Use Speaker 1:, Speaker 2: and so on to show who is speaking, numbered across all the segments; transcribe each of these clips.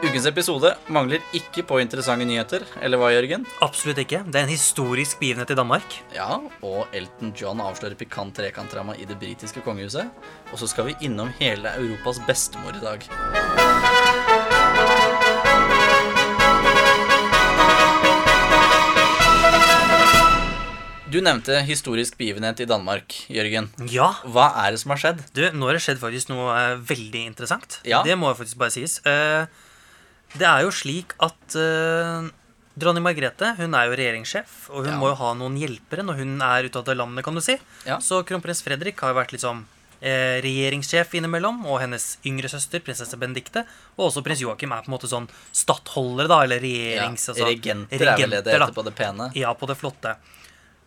Speaker 1: Ukens episode mangler ikke på interessante nyheter. Eller hva, Jørgen?
Speaker 2: Absolutt ikke. Det er en historisk begivenhet i Danmark.
Speaker 1: Ja, og Elton John avslører pikant trekantdrama i det britiske kongehuset. Og så skal vi innom hele Europas bestemor i dag. Du nevnte historisk begivenhet i Danmark, Jørgen.
Speaker 2: Ja.
Speaker 1: Hva er det som har skjedd?
Speaker 2: Du, nå har det skjedd faktisk noe eh, veldig interessant.
Speaker 1: Ja.
Speaker 2: Det må jo faktisk bare sies. Eh, det er jo slik at eh, dronning Margrethe hun er jo regjeringssjef, og hun
Speaker 1: Ja.
Speaker 2: må jo ha noen hjelpere når hun er ute av landet, kan du si.
Speaker 1: Ja.
Speaker 2: Så kronprins Fredrik har jo vært liksom eh, regjeringssjef innimellom, og hennes yngre søster, prinsesse Benedicte, og også prins Joakim er på en måte sånn stattholdere, da, eller regjerings... altså,
Speaker 1: regenter er vel det det
Speaker 2: regenter, da.
Speaker 1: heter på det pene.
Speaker 2: Ja, på det flotte.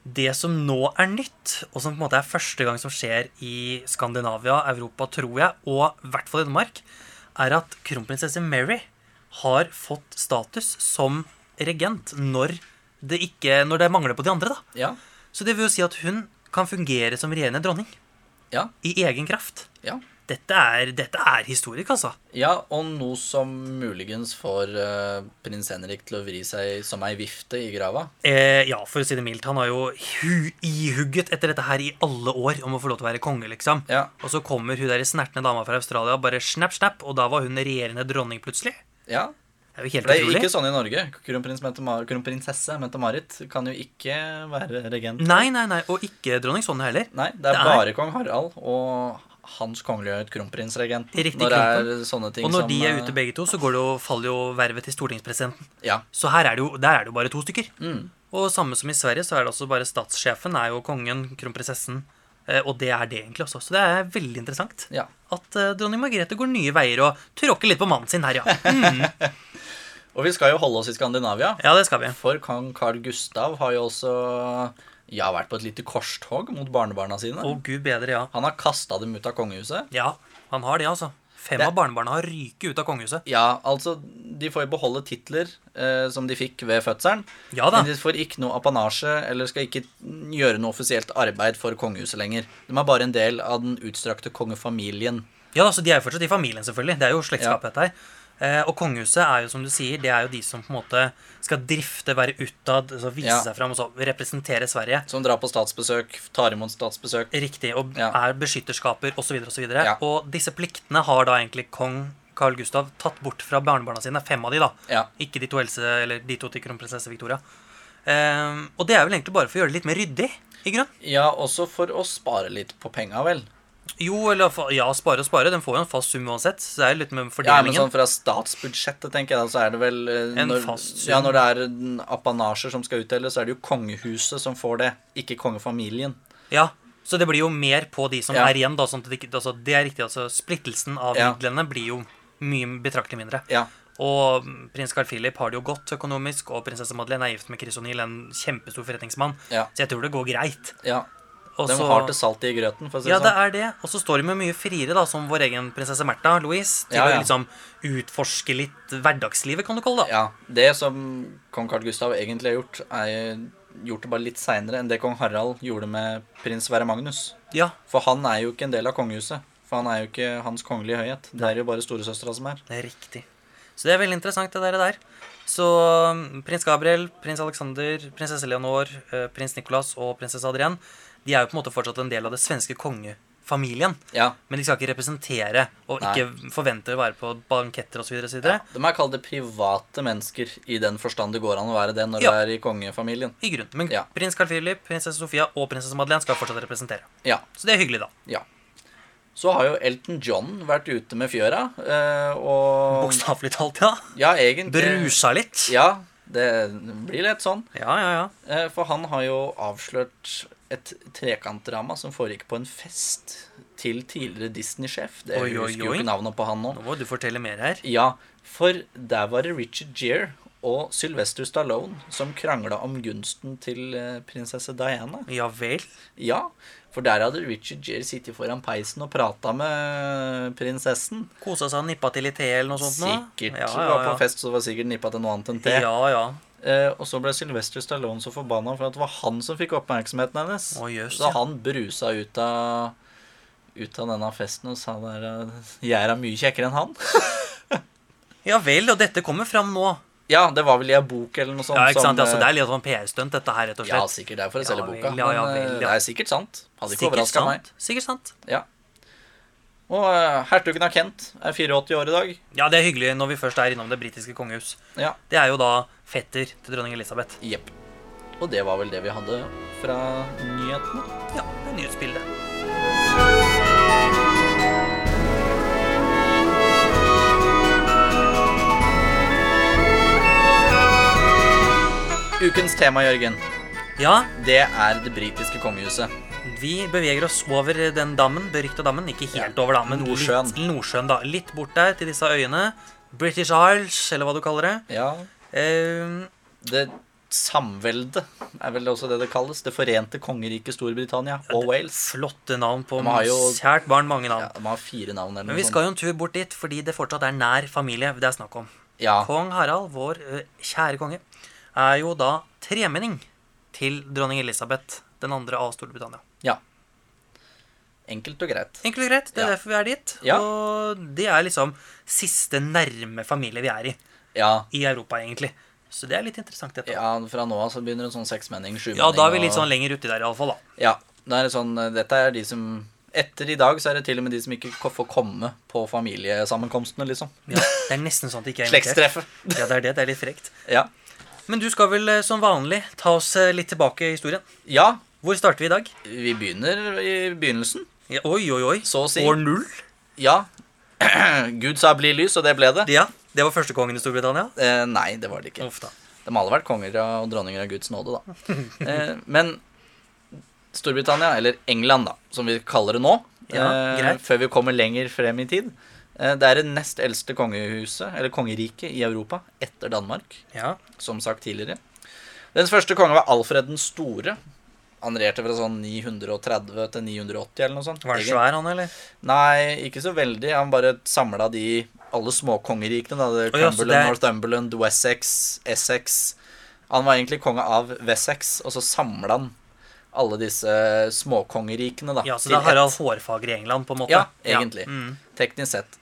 Speaker 2: Det som nå er nytt, og som på en måte er første gang som skjer i Skandinavia, Europa, tror jeg, og i hvert fall i Danmark, er at kronprinsesse Mary har fått status som regent når det, ikke, når det mangler på de andre. da.
Speaker 1: Ja,
Speaker 2: Så det vil jo si at hun kan fungere som regjerende dronning
Speaker 1: ja,
Speaker 2: i egen kraft.
Speaker 1: ja.
Speaker 2: Dette er, dette er historisk, altså.
Speaker 1: Ja, og noe som muligens får eh, prins Henrik til å vri seg som ei vifte i grava.
Speaker 2: Eh, ja, for å si det mildt. Han har jo hu ihugget etter dette her i alle år om å få lov til å være konge, liksom.
Speaker 1: Ja.
Speaker 2: Og så kommer hun der snertne dama fra Australia og bare snapp, snapp, og da var hun regjerende dronning plutselig.
Speaker 1: Ja,
Speaker 2: Det er jo helt
Speaker 1: for det er
Speaker 2: utrolig.
Speaker 1: ikke sånn i Norge. Kronprins Mette-Ma- Kronprinsesse Mette-Marit kan jo ikke være regent.
Speaker 2: Nei, nei, nei, og ikke dronning Sonja heller.
Speaker 1: Nei, det er
Speaker 2: Det er-
Speaker 1: bare kong Harald og hans kongelige kronprinsregent.
Speaker 2: Riktig,
Speaker 1: Når det er sånne ting
Speaker 2: Og når
Speaker 1: som
Speaker 2: de er
Speaker 1: eh,
Speaker 2: ute begge to, så går det jo, faller jo vervet til stortingspresidenten.
Speaker 1: Ja.
Speaker 2: Så her er det jo, der er det jo bare to stykker.
Speaker 1: Mm.
Speaker 2: Og samme som i Sverige, så er det også bare statssjefen er jo kongen, kronprinsessen. eh, Og det er det egentlig også. Så det er veldig interessant.
Speaker 1: ja.
Speaker 2: At eh, dronning Margrethe går nye veier og tråkker litt på mannen sin her, ja.
Speaker 1: Og vi skal jo holde oss i Skandinavia.
Speaker 2: Ja, det skal vi.
Speaker 1: For kong Carl Gustav har jo også ja, vært på et lite korstog mot barnebarna sine.
Speaker 2: Å, gud bedre, ja.
Speaker 1: Han har kasta dem ut av kongehuset.
Speaker 2: Ja, han har det, altså. Fem
Speaker 1: Det-
Speaker 2: av barnebarna har ryket ut av kongehuset.
Speaker 1: Ja, altså, de får jo beholde titler eh, som de fikk ved fødselen.
Speaker 2: Ja da.
Speaker 1: Men de får ikke noe apanasje, eller skal ikke gjøre noe offisielt arbeid for kongehuset lenger. De er bare en del av den utstrakte kongefamilien.
Speaker 2: Ja, altså, De er jo fortsatt i familien, selvfølgelig. Det er jo slektskap,
Speaker 1: Ja.
Speaker 2: dette her. Eh, og kongehuset er jo som du sier, det er jo de som på en måte skal drifte, være utad, altså vise
Speaker 1: Ja.
Speaker 2: seg fram og så representere Sverige.
Speaker 1: Som drar på statsbesøk, tar imot statsbesøk.
Speaker 2: Riktig. Og
Speaker 1: Ja.
Speaker 2: er beskytterskaper osv. osv.
Speaker 1: Ja.
Speaker 2: Og disse pliktene har da egentlig kong Carl Gustav tatt bort fra barnebarna sine. Fem av de, da.
Speaker 1: Ja.
Speaker 2: Ikke de to eldste, eller de to til kronprinsesse Victoria. Eh, og det er vel egentlig bare for å gjøre det litt mer ryddig. i grunn.
Speaker 1: ja, også for å spare litt på penga, vel.
Speaker 2: Jo, eller fa- ja, spare og spare. Den får jo en fast sum uansett. Så det er jo litt med
Speaker 1: Ja, men
Speaker 2: fordelingen.
Speaker 1: sånn fra statsbudsjettet, tenker jeg, da, så er det vel eh,
Speaker 2: En
Speaker 1: når,
Speaker 2: fast sum.
Speaker 1: Ja, når det er mm, apanasjer som skal utdeles, så er det jo kongehuset som får det, ikke kongefamilien.
Speaker 2: Ja, så det blir jo mer på de som
Speaker 1: Ja.
Speaker 2: er igjen, da. Sånn at det, ikke- altså, det er riktig, altså splittelsen av
Speaker 1: Ja.
Speaker 2: midlene blir jo mye betraktelig mindre.
Speaker 1: Ja.
Speaker 2: Og mm, prins Carl Philip har det jo godt økonomisk, og prinsesse Madeleine er gift med Chris O'Neill, en kjempestor forretningsmann,
Speaker 1: Ja.
Speaker 2: så jeg tror det går greit.
Speaker 1: ja.
Speaker 2: Og
Speaker 1: De
Speaker 2: så-
Speaker 1: har til saltet i grøten, for å si
Speaker 2: ja,
Speaker 1: det
Speaker 2: det
Speaker 1: sånn.
Speaker 2: er det. Og så står de med mye friere, da, som vår egen prinsesse Märtha Louise, til
Speaker 1: Ja, ja.
Speaker 2: å liksom utforske litt hverdagslivet, kan du kalle det. da.
Speaker 1: Ja, det som kong Carl Gustav egentlig har gjort, er gjort det bare litt seinere enn det kong Harald gjorde med prins Sverre Magnus.
Speaker 2: Ja.
Speaker 1: For han er jo ikke en del av kongehuset. For han er jo ikke hans kongelige høyhet. Det er jo bare storesøstera som er.
Speaker 2: Det er riktig. Så det er veldig interessant, det der. der. Så um, prins Gabriel, prins Alexander, prinsesse Leonor, eh, prins Nicolas og prinsesse Adrienne de er jo på en måte fortsatt en del av det svenske kongefamilien.
Speaker 1: Ja.
Speaker 2: Men de skal ikke representere og
Speaker 1: Nei.
Speaker 2: ikke forvente å være på banketter osv. videre
Speaker 1: De er kalt det private mennesker, i den forstand det går an å være det når
Speaker 2: Ja.
Speaker 1: du er i kongefamilien.
Speaker 2: I grunnen. Men
Speaker 1: Ja.
Speaker 2: prins Carl Philip, prinsesse Sofia og prinsesse Madeleine skal fortsatt representere.
Speaker 1: Ja,
Speaker 2: Så det er hyggelig, da.
Speaker 1: ja. Så har jo Elton John vært ute med fjøra, eh, og
Speaker 2: Bokstavelig talt, ja.
Speaker 1: Ja, egentlig
Speaker 2: Brusa litt.
Speaker 1: Ja, det blir litt sånn.
Speaker 2: Ja, ja, ja.
Speaker 1: Eh, For han har jo avslørt et trekantdrama som foregikk på en fest til tidligere Disney-sjef. Det
Speaker 2: Oi, oi,
Speaker 1: husker jo
Speaker 2: oi.
Speaker 1: ikke navnet på han nå.
Speaker 2: Nå må du fortelle mer her.
Speaker 1: Ja, for der var det Richard Gere og Sylvester Stallone som krangla om gunsten til eh, prinsesse Diana.
Speaker 2: Ja vel.
Speaker 1: Ja, for der hadde Richard Gere sittet foran peisen og prata med prinsessen.
Speaker 2: Kosa seg og nippa til i te eller noe sånt? nå?
Speaker 1: Sikkert.
Speaker 2: Ja, ja,
Speaker 1: Var
Speaker 2: ja.
Speaker 1: på fest, så det var sikkert nippa til noe annet enn te.
Speaker 2: Ja, ja.
Speaker 1: Eh, og så ble Sylvester Stallone så forbanna for at det var han som fikk oppmerksomheten hennes.
Speaker 2: Å, jøss,
Speaker 1: så
Speaker 2: ja.
Speaker 1: han brusa ut av, ut av denne festen og sa der eh, Jeg er da mye kjekkere enn han.
Speaker 2: Ja vel, og dette kommer fram nå.
Speaker 1: Ja, det var vel i en bok eller noe sånt.
Speaker 2: Ja, ikke
Speaker 1: som,
Speaker 2: sant? Ja, så det
Speaker 1: eh,
Speaker 2: er litt sånn PR-stunt, dette her, rett og
Speaker 1: ja,
Speaker 2: slett.
Speaker 1: sikkert det er for å
Speaker 2: Ja altså,
Speaker 1: selge
Speaker 2: vel,
Speaker 1: boka.
Speaker 2: ja, ja
Speaker 1: men eh,
Speaker 2: vel, ja.
Speaker 1: det er sikkert sant. Hadde ikke
Speaker 2: sikkert,
Speaker 1: overraska meg.
Speaker 2: sant. sikkert sant.
Speaker 1: Ja. Og eh, hertugen av Kent er 84 år i dag.
Speaker 2: Ja, det er hyggelig når vi først er innom det britiske kongehus.
Speaker 1: Ja,
Speaker 2: Det er jo da fetter til dronning Elisabeth.
Speaker 1: jepp. Og det var vel det vi hadde fra nyhetene.
Speaker 2: Ja, det er nyhetsbildet.
Speaker 1: Ukens tema, Jørgen,
Speaker 2: Ja,
Speaker 1: det er det britiske kongehuset.
Speaker 2: vi beveger oss over den dammen, berykta dammen. Ikke helt over, da, men
Speaker 1: Nordsjøen.
Speaker 2: Litt, Nordsjøen, da. Litt bort der, til disse øyene. British Isles, eller hva du kaller det.
Speaker 1: Ja,
Speaker 2: Eh,
Speaker 1: det samvelde er vel også det det kalles. Det forente kongeriket Storbritannia og Wales.
Speaker 2: flotte navn på
Speaker 1: De har jo-
Speaker 2: kjært barn, mange navn.
Speaker 1: Ja, de har fire navn eller
Speaker 2: Men
Speaker 1: noe
Speaker 2: vi skal jo en tur bort dit, fordi det fortsatt er nær familie det er snakk om.
Speaker 1: Ja,
Speaker 2: Kong Harald, vår ø, kjære konge, er jo da tremenning til dronning Elisabeth den andre av Storbritannia.
Speaker 1: enkelt og greit.
Speaker 2: Enkelt og greit, det er
Speaker 1: Ja.
Speaker 2: derfor vi er dit.
Speaker 1: Ja.
Speaker 2: Og det er liksom siste nærme familie vi er i,
Speaker 1: Ja,
Speaker 2: i Europa egentlig. Så det er litt interessant, dette.
Speaker 1: ja fra nå av så begynner en sånn seksmenning, sjumenning
Speaker 2: Ja, da er vi
Speaker 1: og-
Speaker 2: litt sånn lenger uti der, iallfall, da.
Speaker 1: Ja, det er sånn, eh, dette er de som Etter i dag så er det til og med de som ikke ko- får komme på familiesammenkomstene, liksom.
Speaker 2: Ja, det er nesten sånn at de ikke er invitert.
Speaker 1: Slektstreffet.
Speaker 2: Ja, det er det. Det er litt frekt.
Speaker 1: Ja.
Speaker 2: Men du skal vel ø, som vanlig ta oss ø, litt tilbake i historien.
Speaker 1: ja,
Speaker 2: Hvor starter vi i dag?
Speaker 1: vi begynner i begynnelsen.
Speaker 2: Ja, oi, oi, oi.
Speaker 1: Så å si.
Speaker 2: År null.
Speaker 1: Ja. Gud sa 'bli lys', og det ble det.
Speaker 2: Ja, det var første kongen i Storbritannia.
Speaker 1: Eh, nei, det var det ikke.
Speaker 2: Uff da.
Speaker 1: De har alle vært konger og dronninger av Guds nåde, da. Eh, men Storbritannia, eller England, da, som vi kaller det nå,
Speaker 2: Ja,
Speaker 1: eh,
Speaker 2: greit.
Speaker 1: før vi kommer lenger frem i tid, eh, det er det nest eldste kongehuset, eller kongeriket, i Europa etter Danmark.
Speaker 2: Ja.
Speaker 1: som sagt tidligere. Dens første konge var Alfred den store. Han regjerte fra sånn 930 til 980 eller noe sånt.
Speaker 2: Var han
Speaker 1: Egen-
Speaker 2: svær, han, eller?
Speaker 1: Nei, ikke så veldig. Han bare samla de alle småkongerikene. Da. Det
Speaker 2: Å ja, så
Speaker 1: Cumberland,
Speaker 2: det er-
Speaker 1: Northumberland, Wessex, Essex Han var egentlig konge av Wessex, og så samla han alle disse småkongerikene da,
Speaker 2: Ja, så
Speaker 1: til
Speaker 2: det er Harald Hårfager i England, på en måte.
Speaker 1: Ja, egentlig.
Speaker 2: Mm.
Speaker 1: ett, teknisk sett.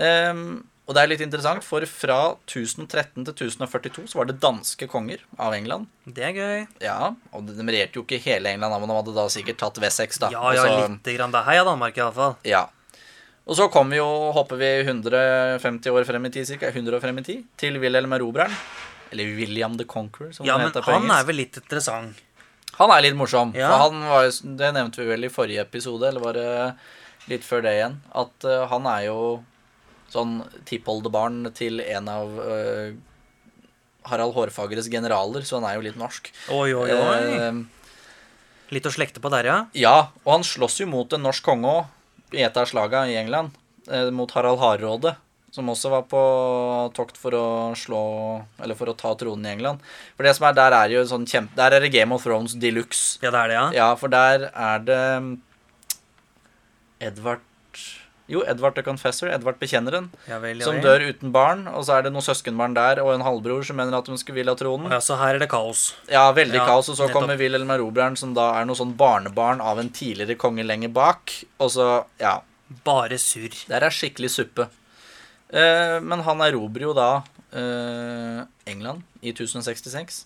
Speaker 1: Ehm, og det er litt interessant, for fra 1013 til 1042 så var det danske konger av England.
Speaker 2: Det er gøy.
Speaker 1: Ja, og de de regjerte jo ikke hele England, da, men de hadde da sikkert tatt Wessex, da.
Speaker 2: Ja,
Speaker 1: Og
Speaker 2: ja,
Speaker 1: så-
Speaker 2: lite grann. Det er heia Danmark, iallfall.
Speaker 1: ja. Og så kommer vi jo, hopper vi 150 år frem i tid, cirka, 100 år frem i tid, til Wilhelm Erobreren. Eller William the Conqueror, som
Speaker 2: Ja,
Speaker 1: det
Speaker 2: men
Speaker 1: heter på
Speaker 2: han er
Speaker 1: engelsk.
Speaker 2: vel litt interessant.
Speaker 1: Han er litt morsom.
Speaker 2: Ja.
Speaker 1: For han var, jo- det nevnte vi vel i forrige episode, eller var det litt før det igjen, at eh, han er jo sånn tippoldebarn til en av eh, Harald Hårfagres generaler, så han er jo litt norsk.
Speaker 2: Oi, oi, oi.
Speaker 1: Eh,
Speaker 2: Litt å slekte på der, ja.
Speaker 1: Ja, og han slåss jo mot en norsk konge òg, i et av slaga i England. eh, Mot Harald Hardråde, som også var på tokt for å slå Eller for å ta tronen i England. For det som er der, er jo sånn kjempe... Der er det Game of Thrones de luxe.
Speaker 2: Ja, det er det, ja.
Speaker 1: Ja, for der er det mm, Edvard Jo, Edvard the Confessor. Edvard Bekjenneren.
Speaker 2: ja vel, ja,
Speaker 1: Som
Speaker 2: vel.
Speaker 1: dør uten barn, og så er det noen søskenbarn der og en halvbror som mener at de skulle ville ha tronen.
Speaker 2: Mm. Ja, så her er det kaos.
Speaker 1: Ja, veldig
Speaker 2: Ja,
Speaker 1: kaos. Og så
Speaker 2: nettopp.
Speaker 1: kommer Wilhelm Erobreren, som da er noe sånn barnebarn av en tidligere konge lenger bak. Og så, ja
Speaker 2: Bare surr.
Speaker 1: Der er skikkelig suppe. Eh, men han erobrer jo da eh, England i 1066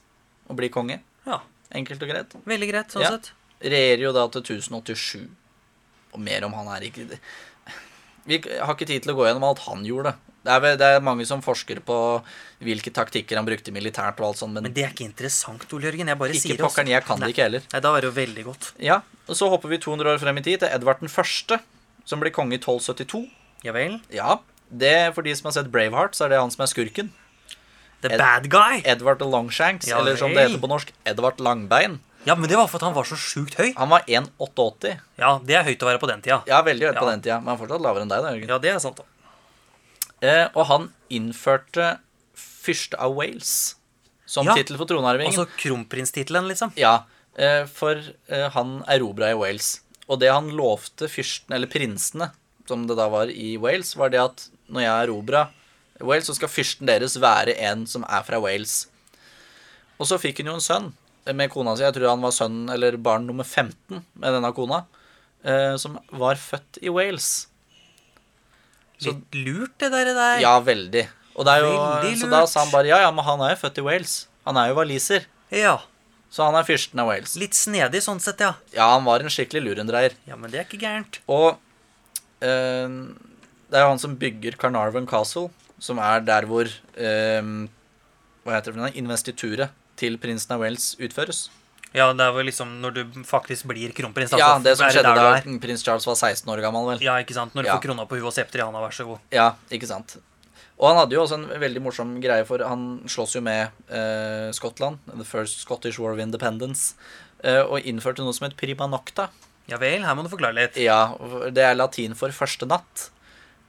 Speaker 1: og blir konge.
Speaker 2: Ja.
Speaker 1: Enkelt og greit.
Speaker 2: Veldig greit, sånn
Speaker 1: Ja.
Speaker 2: sett.
Speaker 1: Regjerer jo da til 1087. Og mer om han er ikke Vi har ikke tid til å gå gjennom alt han gjorde. Det er, vel- det er mange som forsker på hvilke taktikker han brukte militært og alt sånt, men,
Speaker 2: Men det er ikke interessant, Ole Jørgen. Jeg bare
Speaker 1: ikke
Speaker 2: sier det. altså.
Speaker 1: pokkeren, jeg kan
Speaker 2: Nei.
Speaker 1: det ikke heller.
Speaker 2: Nei, da var det jo veldig godt.
Speaker 1: Ja, og så hopper vi 200 år frem i tid til Edvard den første, som blir konge i 1272.
Speaker 2: Ja vel.
Speaker 1: Ja, det for de som har sett Braveheart, så er det han som er skurken.
Speaker 2: The
Speaker 1: Ed-
Speaker 2: bad guy.
Speaker 1: Edvard the Longshanks,
Speaker 2: Ja
Speaker 1: eller som
Speaker 2: vel.
Speaker 1: det heter på norsk, Edvard Langbein.
Speaker 2: Ja, men det var for at han var så sjukt høy.
Speaker 1: Han var 1,88.
Speaker 2: Ja, det er høyt å være på den tida.
Speaker 1: Ja, veldig høyt på
Speaker 2: Ja.
Speaker 1: den tida, men han er fortsatt lavere enn deg, da, Jørgen.
Speaker 2: Ja, det er sant, da.
Speaker 1: Eh, og han innførte fyrste av Wales som
Speaker 2: Ja.
Speaker 1: tittel for tronarvingen.
Speaker 2: Altså kronprinstittelen, liksom.
Speaker 1: Ja, eh, for eh, han erobra i Wales. Og det han lovte fyrsten, eller prinsene, som det da var i Wales, var det at når jeg erobra Wales, så skal fyrsten deres være en som er fra Wales. Og så fikk hun jo en sønn eh, med kona si. Jeg tror han var sønn eller barn nummer 15 med denne kona, eh, som var født i Wales. Så-
Speaker 2: Litt lurt, det der. der.
Speaker 1: Ja, veldig. Og det er jo,
Speaker 2: Veldig
Speaker 1: så da
Speaker 2: lurt.
Speaker 1: sa han bare ja, ja, men han er jo født i Wales. Han er jo waliser.
Speaker 2: Ja,
Speaker 1: Så han er fyrsten av Wales.
Speaker 2: Litt snedig sånn sett, ja.
Speaker 1: Ja, han var en skikkelig lurendreier.
Speaker 2: Ja, Men det er ikke gærent.
Speaker 1: Og eh, det er jo han som bygger Carnarvon Castle, som er der hvor eh, Hva heter det for noe? Investituret til prinsen av Wales utføres.
Speaker 2: Ja, det er vel liksom når du faktisk blir kronprins. da,
Speaker 1: ja,
Speaker 2: så
Speaker 1: det som
Speaker 2: er
Speaker 1: skjedde
Speaker 2: der
Speaker 1: da
Speaker 2: du er.
Speaker 1: prins Charles var 16 år gammel, vel.
Speaker 2: Ja, ikke sant. Når du
Speaker 1: Ja.
Speaker 2: får krona på huet og septer i handa, vær så god.
Speaker 1: Ja, ikke sant. Og han hadde jo også en veldig morsom greie, for han slåss jo med eh, Skottland. The First Scottish War of Independence. eh, og innførte noe som het prima nocta.
Speaker 2: Ja vel, her må du forklare litt.
Speaker 1: Ja, det er latin for første natt.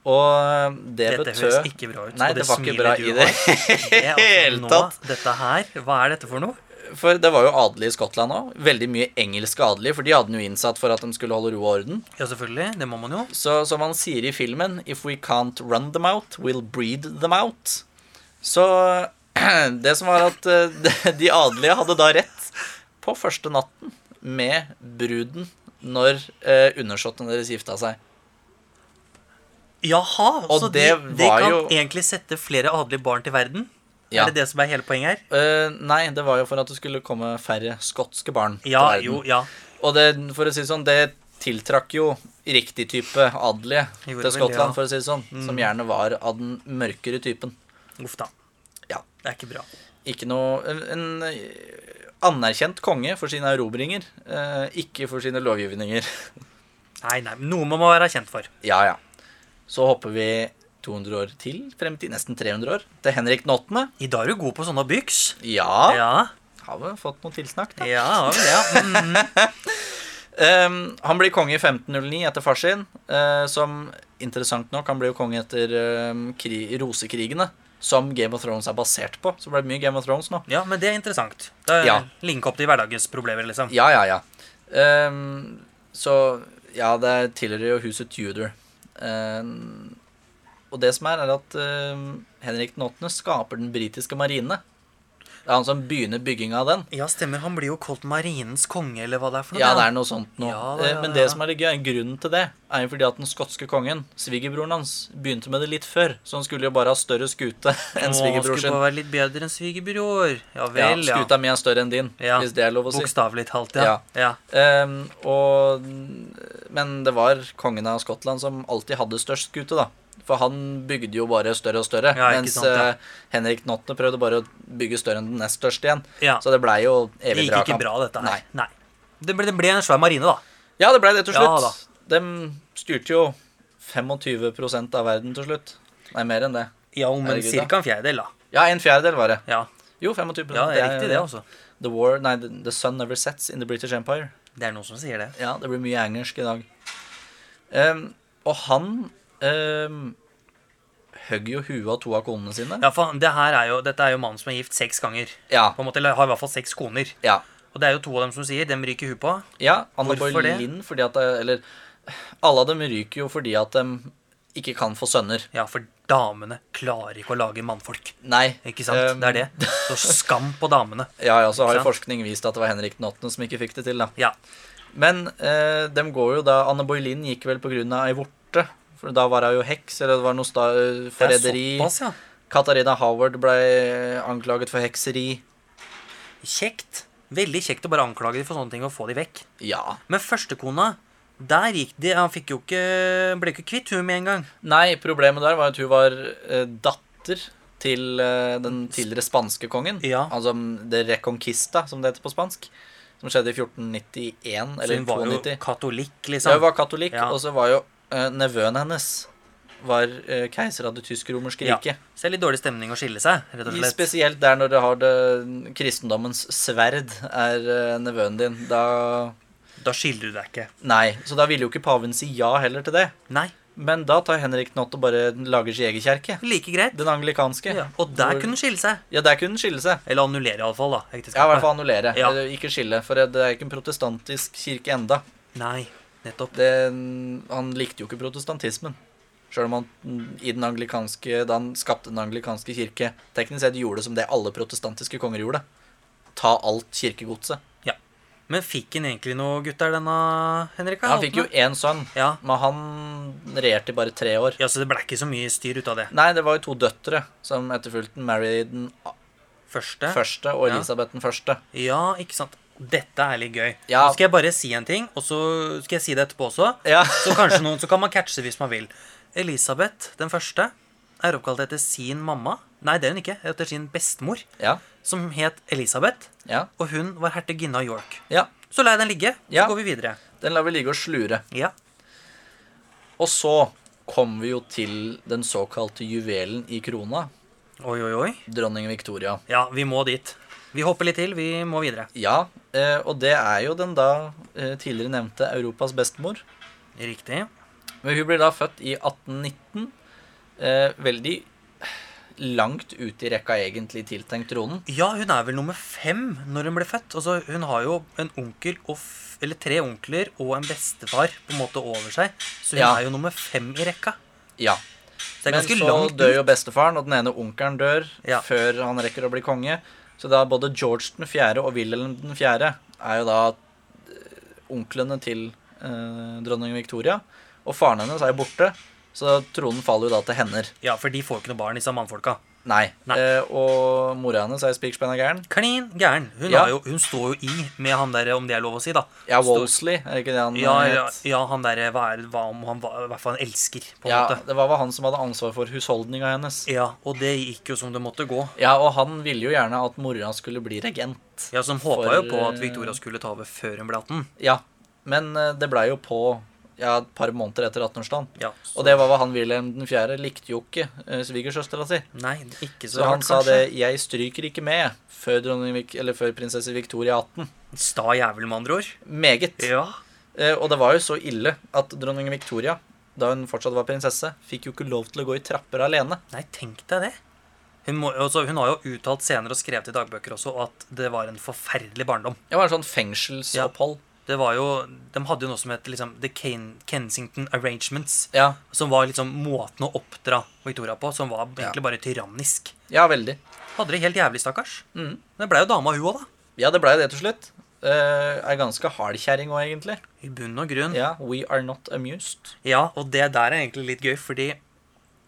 Speaker 1: Og eh, det
Speaker 2: Dette
Speaker 1: betød
Speaker 2: høres ikke bra ut.
Speaker 1: Nei,
Speaker 2: og
Speaker 1: det var ikke
Speaker 2: smilet
Speaker 1: bra
Speaker 2: du
Speaker 1: i
Speaker 2: har,
Speaker 1: det
Speaker 2: er altså
Speaker 1: hele
Speaker 2: nå-
Speaker 1: tatt.
Speaker 2: Dette her, hva er dette for noe?
Speaker 1: For det var jo adelige i Skottland òg. Veldig mye engelske adelige, for de hadde den jo innsatt for at de skulle holde ro og orden.
Speaker 2: Ja, selvfølgelig. Det må man jo.
Speaker 1: Så som han sier i filmen If we can't run them out, we'll breed them out. Så det som var at eh, de- de adelige hadde da rett på første natten med bruden når eh, undersåttene deres gifta seg.
Speaker 2: Jaha,
Speaker 1: Og
Speaker 2: så
Speaker 1: det
Speaker 2: de, de
Speaker 1: var
Speaker 2: kan
Speaker 1: jo-
Speaker 2: egentlig sette flere adelige barn til verden?
Speaker 1: Ja.
Speaker 2: Er det det som er hele poenget her?
Speaker 1: Eh, nei, det var jo for at det skulle komme færre skotske barn
Speaker 2: Ja,
Speaker 1: til
Speaker 2: jo,
Speaker 1: verden.
Speaker 2: ja.
Speaker 1: Og det, for å si det sånn, det tiltrakk jo riktig type adelige
Speaker 2: Gjorde
Speaker 1: til
Speaker 2: vel det,
Speaker 1: Skottland,
Speaker 2: ja. Mm.
Speaker 1: for å si det sånn. Som gjerne var av den mørkere typen.
Speaker 2: Uff da.
Speaker 1: Ja.
Speaker 2: Det er ikke bra.
Speaker 1: Ikke noe En, en eh, anerkjent konge for sine erobringer, eh, ikke for sine lovgivninger.
Speaker 2: Nei, nei, men noe man må være kjent for.
Speaker 1: Ja, ja. Så hopper vi 200 år til, frem til nesten 300 år, til Henrik den 8.
Speaker 2: I dag er du god på sånne byks.
Speaker 1: Ja,
Speaker 2: Ja,
Speaker 1: har vi fått noe tilsnakk, da.
Speaker 2: ja, ja, vel, ja. Mm.
Speaker 1: Ehm, han blir konge i 1509 etter far sin, eh, som interessant nok Han ble jo konge etter ehm, kri rosekrigene, som Game of Thrones er basert på. Så det ble mye Game of Thrones nå.
Speaker 2: ja, men det er interessant. Det er
Speaker 1: Ja.
Speaker 2: Linke opp til hverdagens problemer, liksom.
Speaker 1: Ja, ja, ja. Ehm, så Ja, det tilhører jo huset Tudor. Ehm, og det som er, er at ehm, Henrik den 8. skaper den britiske marine. Det er han som begynner bygginga av den.
Speaker 2: Ja, stemmer. Han blir jo kalt marinens konge, eller hva det er for noe.
Speaker 1: Ja, det
Speaker 2: da.
Speaker 1: er noe sånt noe.
Speaker 2: Ja, ja,
Speaker 1: Eh, Men
Speaker 2: ja,
Speaker 1: det
Speaker 2: ja.
Speaker 1: som er det gøy, grunnen til det, er jo fordi at den skotske kongen, svigerbroren hans, begynte med det litt før. Så han skulle jo bare ha større skute enn
Speaker 2: Å,
Speaker 1: svigerbror
Speaker 2: Skulle
Speaker 1: sin.
Speaker 2: bare være litt bedre enn svigerbror. Ja
Speaker 1: Ja,
Speaker 2: vel, ja.
Speaker 1: skuta mi er større enn din,
Speaker 2: Ja,
Speaker 1: hvis det er lov å si.
Speaker 2: Bokstavelig talt, ja. ja.
Speaker 1: Ehm, og, men det var kongen av Skottland som alltid hadde størst skute, da. For han bygde jo bare større og større.
Speaker 2: Ja, ikke
Speaker 1: mens
Speaker 2: sant, ja.
Speaker 1: eh, Henrik den 8. prøvde bare å bygge større enn den nest største igjen.
Speaker 2: Ja.
Speaker 1: Så det blei jo
Speaker 2: Det
Speaker 1: evig
Speaker 2: gikk ikke
Speaker 1: dragkamp.
Speaker 2: bra, dette her.
Speaker 1: Nei.
Speaker 2: Nei. Det ble, det ble en svær marine, da.
Speaker 1: Ja, det blei det til
Speaker 2: Ja,
Speaker 1: slutt. De styrte jo 25 av verden til slutt. Nei, mer enn det.
Speaker 2: Ja, om en
Speaker 1: Herregud, da.
Speaker 2: cirka en fjerdedel, da.
Speaker 1: Ja, en fjerdedel var det.
Speaker 2: Ja,
Speaker 1: Jo, 25
Speaker 2: ja det er riktig, det, altså.
Speaker 1: The war, nei, the, the sun never sets in the British Empire.
Speaker 2: Det er noen som sier det.
Speaker 1: Ja, det blir mye engelsk i dag. Ehm, og han um, høgg jo huet av to av konene sine.
Speaker 2: Ja, for det her er jo, Dette er jo mannen som er gift seks ganger.
Speaker 1: Ja.
Speaker 2: På en måte, eller har i hvert fall seks koner.
Speaker 1: Ja.
Speaker 2: Og det er jo to av dem som sier dem ryker huet på.
Speaker 1: ja Anne
Speaker 2: Hvorfor det?
Speaker 1: Boleyn fordi at det- Eller alle av dem ryker jo fordi at de ikke kan få sønner.
Speaker 2: Ja, for damene klarer ikke å lage mannfolk.
Speaker 1: Nei.
Speaker 2: Ikke sant?
Speaker 1: ehm,
Speaker 2: det er det. Så skam på damene.
Speaker 1: Ja, ja, så har jo
Speaker 2: Ikke sant?
Speaker 1: forskning vist at det var Henrik den 8. som ikke fikk det til, da.
Speaker 2: Ja.
Speaker 1: Men eh, dem går jo da Anne Boleyn gikk vel på grunn av ei vorte. For da var hun jo heks, eller det var noe sta eh,
Speaker 2: Det er
Speaker 1: forræderi.
Speaker 2: såpass, ja.
Speaker 1: Katarina Howard ble anklaget for hekseri.
Speaker 2: Kjekt. Veldig kjekt å bare anklage dem for sånne ting og få dem vekk.
Speaker 1: Ja.
Speaker 2: Men førstekona, der gikk de Han fikk jo ikke Ble ikke kvitt hun med en gang.
Speaker 1: Nei, problemet der var at hun var eh, datter til eh, den tidligere spanske kongen.
Speaker 2: Ja.
Speaker 1: Altså det Reconquista, som det heter på spansk. Som skjedde i 1491
Speaker 2: Så
Speaker 1: eller
Speaker 2: hun var jo
Speaker 1: 92.
Speaker 2: katolikk,
Speaker 1: Ja, hun
Speaker 2: liksom.
Speaker 1: var katolikk,
Speaker 2: Ja.
Speaker 1: og så var jo eh, nevøen hennes var eh, keiser av det tysk-romerske
Speaker 2: Ja.
Speaker 1: riket.
Speaker 2: Så det er litt dårlig stemning å skille seg, rett og
Speaker 1: I
Speaker 2: slett.
Speaker 1: spesielt der når du har det kristendommens sverd er eh, nevøen din. Da
Speaker 2: Da skiller du deg ikke.
Speaker 1: Nei. Så da ville jo ikke paven si ja heller til det.
Speaker 2: Nei.
Speaker 1: Men da tar Henrik den åtte og bare lager sin egen kjerke.
Speaker 2: Like greit.
Speaker 1: Den anglikanske.
Speaker 2: Ja. Og der
Speaker 1: Hvor-
Speaker 2: kunne hun skille seg.
Speaker 1: Ja, der kunne den skille seg.
Speaker 2: Eller annullere, iallfall. da,
Speaker 1: Ja, i hvert
Speaker 2: ekteskapet.
Speaker 1: fall annullere.
Speaker 2: Ja.
Speaker 1: Eller Ikke skille, for det er ikke en protestantisk kirke enda.
Speaker 2: Nei, nettopp.
Speaker 1: Det, han likte jo ikke protestantismen. Sjøl om han mm, i den anglikanske, da han skapte den anglikanske kirke, teknisk sett gjorde som det alle protestantiske konger gjorde. Ta alt kirkegodset.
Speaker 2: Men fikk han egentlig noe gutter, denne Henrika?
Speaker 1: Han fikk jo én sønn,
Speaker 2: Ja,
Speaker 1: men han regjerte i bare tre år.
Speaker 2: Ja, Så det ble ikke så mye styr ut av det.
Speaker 1: Nei, det var jo to døtre som etterfulgte Mary den a-
Speaker 2: Første.
Speaker 1: første og
Speaker 2: Ja.
Speaker 1: Elisabeth den første.
Speaker 2: Ja, ikke sant. Dette er litt gøy.
Speaker 1: Ja.
Speaker 2: Nå skal jeg bare si en ting, og så skal jeg si det etterpå også.
Speaker 1: Ja.
Speaker 2: Så kanskje noen, så kan man catche hvis man vil. Elisabeth den første er oppkalt etter sin mamma. Nei, det er hun ikke. Etter sin bestemor,
Speaker 1: Ja.
Speaker 2: som het Elisabeth.
Speaker 1: Ja.
Speaker 2: Og hun var hertuginne av York.
Speaker 1: ja.
Speaker 2: Så la jeg den ligge, så
Speaker 1: Ja.
Speaker 2: går vi videre.
Speaker 1: Den lar vi ligge og slure.
Speaker 2: Ja.
Speaker 1: Og så kom vi jo til den såkalte juvelen i krona,
Speaker 2: Oi, oi, oi.
Speaker 1: dronning Victoria.
Speaker 2: Ja, vi må dit. Vi hopper litt til. Vi må videre.
Speaker 1: Ja, eh, og det er jo den da eh, tidligere nevnte Europas bestemor.
Speaker 2: Riktig.
Speaker 1: Men hun blir da født i 1819. Eh, veldig langt ut i rekka egentlig tiltenkt tronen.
Speaker 2: Ja, hun er vel nummer fem når hun ble født. Altså, hun har jo en onkel og f eller tre onkler og en bestefar på en måte over seg. Så hun
Speaker 1: Ja.
Speaker 2: er jo nummer fem i rekka.
Speaker 1: Ja.
Speaker 2: Så det er
Speaker 1: Men
Speaker 2: ganske
Speaker 1: så
Speaker 2: langt
Speaker 1: dør jo
Speaker 2: ut.
Speaker 1: bestefaren, og den ene onkelen dør
Speaker 2: Ja.
Speaker 1: før han rekker å bli konge. Så da både George den fjerde og Wilhelm den fjerde er jo da eh, onklene til eh, dronning Victoria. Og faren hennes er jo borte, så tronen faller jo da til henner.
Speaker 2: Ja, for de får jo ikke noe barn, disse mannfolka.
Speaker 1: Nei.
Speaker 2: Nei.
Speaker 1: Eh, og mora hennes er jo spikspenna gæren.
Speaker 2: Klin gæren. Hun,
Speaker 1: Ja.
Speaker 2: har jo, hun står jo i med han der, om det er lov å si, da.
Speaker 1: Ja,
Speaker 2: Står-
Speaker 1: Wolseley, er det ikke det han
Speaker 2: Ja,
Speaker 1: eh,
Speaker 2: ja,
Speaker 1: het?
Speaker 2: ja, han derre hva, er- hva om han hva, hva han elsker, på en
Speaker 1: Ja,
Speaker 2: måte.
Speaker 1: det var vel han som hadde ansvar for husholdninga hennes.
Speaker 2: Ja, og det gikk jo som det måtte gå.
Speaker 1: Ja, og han ville jo gjerne at mora skulle bli regent.
Speaker 2: Ja, Som håpa
Speaker 1: For,
Speaker 2: jo på at
Speaker 1: eh,
Speaker 2: Victoria skulle ta over før hun ble 18.
Speaker 1: Ja, men eh, det blei jo på ja, et par måneder etter 18-årsdagen.
Speaker 2: Ja,
Speaker 1: Og det var hva han Wilhelm 4. likte jo ikke eh, svigersøstera si.
Speaker 2: Nei, ikke så,
Speaker 1: Så han
Speaker 2: rart,
Speaker 1: sa
Speaker 2: kanskje.
Speaker 1: det 'Jeg stryker ikke med' før, dronning Vic- eller før prinsesse Victoria 18.
Speaker 2: Sta jævel, med andre ord.
Speaker 1: Meget.
Speaker 2: Ja.
Speaker 1: Eh, Og det var jo så ille at dronning Victoria, da hun fortsatt var prinsesse, fikk jo ikke lov til å gå i trapper alene.
Speaker 2: Nei, tenk deg det. Hun, må, altså, hun har jo uttalt senere og skrevet i dagbøker også at det var en forferdelig barndom.
Speaker 1: Det var en sånn fengselsopphold.
Speaker 2: Det var jo, De hadde jo noe som het liksom, The Ken Kensington Arrangements,
Speaker 1: Ja,
Speaker 2: som var liksom måten å oppdra Victoria på, som var egentlig bare tyrannisk.
Speaker 1: ja veldig.
Speaker 2: Hadde det helt jævlig, stakkars.
Speaker 1: Mm.
Speaker 2: Det blei jo dama, hun òg, da.
Speaker 1: Ja, det blei det til slutt. Uh, er ganske hard kjerring òg, egentlig.
Speaker 2: I bunn og grunn.
Speaker 1: Ja, We are not amused.
Speaker 2: Ja, og det der er egentlig litt gøy, fordi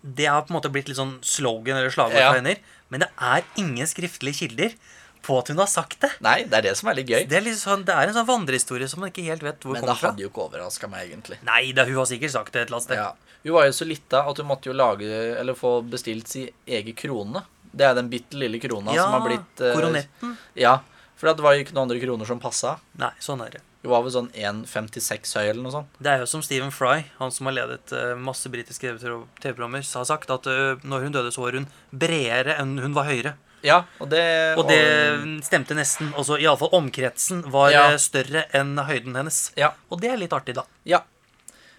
Speaker 2: det har på en måte blitt litt sånn slogan eller slagord
Speaker 1: Ja.
Speaker 2: for henne. Men det er ingen skriftlige kilder på at hun har sagt det.
Speaker 1: Nei, det er det som er litt gøy.
Speaker 2: Det er, litt sånn, det er en sånn vandrehistorie som man ikke helt vet hvor
Speaker 1: Men det
Speaker 2: kommer fra.
Speaker 1: hadde jo ikke overraska meg, egentlig.
Speaker 2: Nei, da, hun har sikkert sagt det et eller annet sted.
Speaker 1: Ja. Hun var jo så lita at hun måtte jo lage, eller få bestilt sin egen krone. Det er den bitte lille krona
Speaker 2: Ja,
Speaker 1: som har blitt eh,
Speaker 2: koronetten.
Speaker 1: Ja, for det var jo ikke noen andre kroner som passa.
Speaker 2: Nei, sånn er det.
Speaker 1: Hun var vel sånn 1,56 høy eller noe sånt.
Speaker 2: Det er jo som Stephen Fry, han som har ledet eh, masse britiske TV-programmer, har sagt at eh, når hun døde, så var hun bredere enn hun var høyere.
Speaker 1: Ja, og det
Speaker 2: Og det stemte nesten. Altså, Iallfall omkretsen var
Speaker 1: Ja.
Speaker 2: eh, større enn høyden hennes.
Speaker 1: Ja.
Speaker 2: Og det er litt artig, da.
Speaker 1: ja.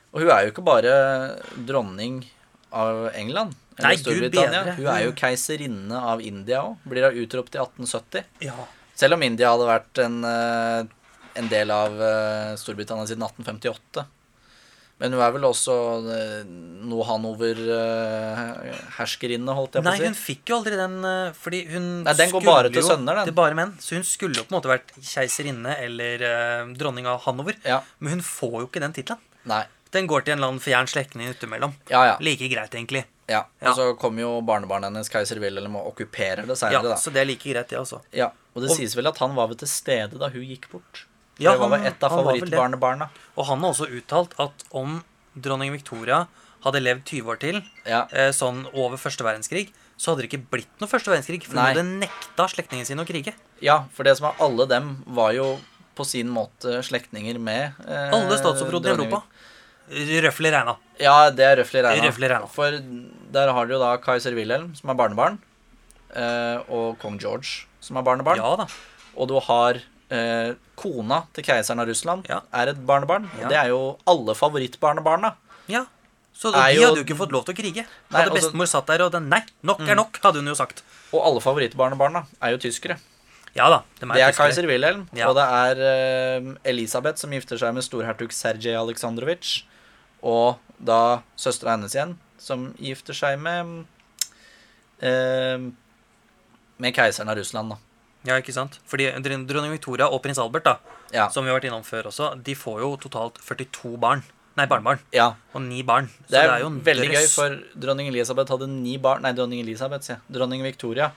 Speaker 1: Og hun er jo ikke bare dronning av England.
Speaker 2: Nei,
Speaker 1: Eller
Speaker 2: Gud
Speaker 1: Storbritannia.
Speaker 2: bedre.
Speaker 1: Hun er jo keiserinne av India òg. Blir da utropt i 1870.
Speaker 2: Ja.
Speaker 1: Selv om India hadde vært en, eh, en del av eh, Storbritannia siden 1858. Men hun er vel også eh, noe Hanover-herskerinne, holdt jeg på
Speaker 2: Nei,
Speaker 1: å si.
Speaker 2: hun fikk jo aldri den eh, Fordi hun
Speaker 1: Nei, den går
Speaker 2: skulle
Speaker 1: bare til
Speaker 2: jo-
Speaker 1: sønner, den.
Speaker 2: Til bare menn. Så hun skulle jo på en måte vært keiserinne eller eh, dronning av Hanover.
Speaker 1: Ja.
Speaker 2: Men hun får jo ikke den tittelen.
Speaker 1: Nei.
Speaker 2: Den går til en eller annen fjern slektning utimellom.
Speaker 1: Ja, ja.
Speaker 2: Like greit, egentlig.
Speaker 1: ja.
Speaker 2: Ja.
Speaker 1: Og så kommer jo barnebarnet hennes, keiser Wilhelm, og okkuperer det
Speaker 2: Ja,
Speaker 1: seinere,
Speaker 2: Så det er like greit, det, altså.
Speaker 1: da. Ja. Og det
Speaker 2: Og-
Speaker 1: sies vel at han var vel til stede da hun gikk bort.
Speaker 2: Ja,
Speaker 1: det var
Speaker 2: han-
Speaker 1: vel et av
Speaker 2: han var vel det.
Speaker 1: favorittbarnebarna.
Speaker 2: Og han har også uttalt at om dronning Victoria hadde levd 20 år til,
Speaker 1: Ja.
Speaker 2: eh, sånn over første verdenskrig, så hadde det ikke blitt noe første verdenskrig. For hun
Speaker 1: Nei.
Speaker 2: hadde nekta slektningene sine å krige.
Speaker 1: ja, for det som var alle dem, var jo på sin måte slektninger med eh,
Speaker 2: Alle statsoverhodene i
Speaker 1: dronning-
Speaker 2: Europa. Røffelig regna.
Speaker 1: Ja, det er røftlig regna.
Speaker 2: Røffelig regna.
Speaker 1: For der har du jo da keiser Wilhelm, som er barnebarn, eh, og kong George, som er barnebarn.
Speaker 2: Ja da.
Speaker 1: Og du har eh, kona til keiseren av Russland,
Speaker 2: Ja.
Speaker 1: er et barnebarn.
Speaker 2: Ja.
Speaker 1: Og det er jo alle favorittbarnebarna.
Speaker 2: Ja. Så
Speaker 1: Er
Speaker 2: de
Speaker 1: jo-
Speaker 2: hadde jo ikke fått lov til å
Speaker 1: Nei,
Speaker 2: krige. hadde
Speaker 1: altså- Mm.
Speaker 2: bestemor satt der og den, Nei, nok er nok, hadde hun jo sagt.
Speaker 1: Og alle favorittbarnebarna er jo tyskere.
Speaker 2: Ja da. De er
Speaker 1: Det er
Speaker 2: tyskere.
Speaker 1: keiser Wilhelm,
Speaker 2: Ja.
Speaker 1: og det er eh, Elisabeth som gifter seg med storhertug Sergej Aleksandrovitsj. Og da søstera hennes igjen, som gifter seg med eh, Med keiseren av Russland, da.
Speaker 2: Ja, ikke sant? Fordi dron- dronning Victoria og prins Albert, da,
Speaker 1: Ja.
Speaker 2: som vi har vært innom før også, de får jo totalt 42 barn. nei, barnebarn.
Speaker 1: Ja.
Speaker 2: Og ni barn. Så
Speaker 1: Det er, jo
Speaker 2: en
Speaker 1: veldig gøy,
Speaker 2: drøss.
Speaker 1: for dronning Elisabeth hadde ni barn Nei, dronning Elisabeth, sier jeg. Dronning Victoria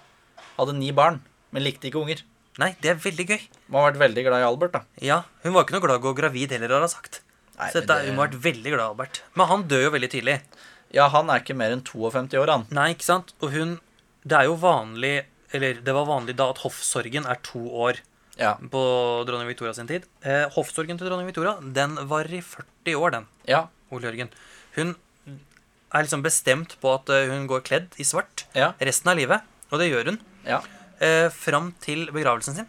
Speaker 1: hadde ni barn, men likte ikke unger.
Speaker 2: Nei, det er veldig gøy.
Speaker 1: Man har vært veldig glad i Albert, da.
Speaker 2: Ja, Hun var ikke noe glad i å gå gravid heller, har hun sagt.
Speaker 1: Nei,
Speaker 2: så
Speaker 1: men
Speaker 2: dette,
Speaker 1: det-
Speaker 2: hun må ha vært veldig glad, Albert. Men han dør jo veldig tidlig.
Speaker 1: Ja, han er ikke mer enn 52 år, han.
Speaker 2: Nei, ikke sant? Og hun Det er jo vanlig Eller det var vanlig da at hoffsorgen er to år
Speaker 1: Ja.
Speaker 2: på dronning Victoria sin tid. Eh, hoffsorgen til dronning Victoria den varer i 40 år, den.
Speaker 1: Ja.
Speaker 2: Ole Jørgen. Hun er liksom bestemt på at eh, hun går kledd i svart
Speaker 1: Ja.
Speaker 2: resten av livet. Og det gjør hun.
Speaker 1: Ja.
Speaker 2: Eh, fram til begravelsen sin.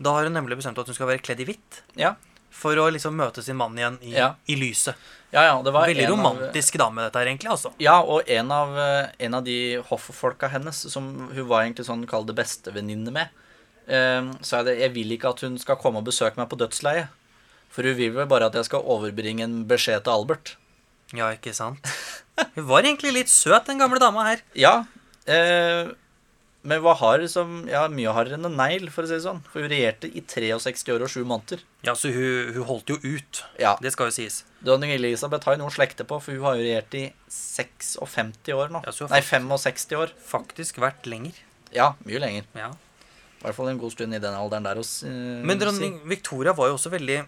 Speaker 2: Da har hun nemlig bestemt at hun skal være kledd i hvitt.
Speaker 1: Ja.
Speaker 2: For å liksom møte sin mann igjen i,
Speaker 1: Ja.
Speaker 2: i lyset.
Speaker 1: Ja, ja, det var
Speaker 2: Veldig
Speaker 1: en av-
Speaker 2: romantisk dame, dette her, egentlig. altså.
Speaker 1: Ja, og en av, eh, en av de hoffolka hennes, som hun var egentlig sånn kall det bestevenninne med, eh, sa jeg det, jeg vil ikke at hun skal komme og besøke meg på dødsleiet. For hun vil vel bare at jeg skal overbringe en beskjed til Albert.
Speaker 2: Ja, ikke sant? Hun var egentlig litt søt, den gamle dama her.
Speaker 1: Ja, eh, men hva har som Ja, mye hardere enn en negl, for å si det sånn. For hun regjerte i 63 år og 7 måneder.
Speaker 2: Ja, så hun, hun holdt jo ut.
Speaker 1: Ja,
Speaker 2: Det skal jo sies.
Speaker 1: Dronning Elisabeth har jo noe å slekte på, for hun har jo regjert i 56 år nå.
Speaker 2: Ja, så hun har
Speaker 1: Nei, 65 år.
Speaker 2: Faktisk vært lenger.
Speaker 1: Ja, mye lenger.
Speaker 2: Ja.
Speaker 1: I hvert fall en god stund i den alderen der. Hos, eh,
Speaker 2: Men
Speaker 1: vil jeg
Speaker 2: dronning Victoria var jo også veldig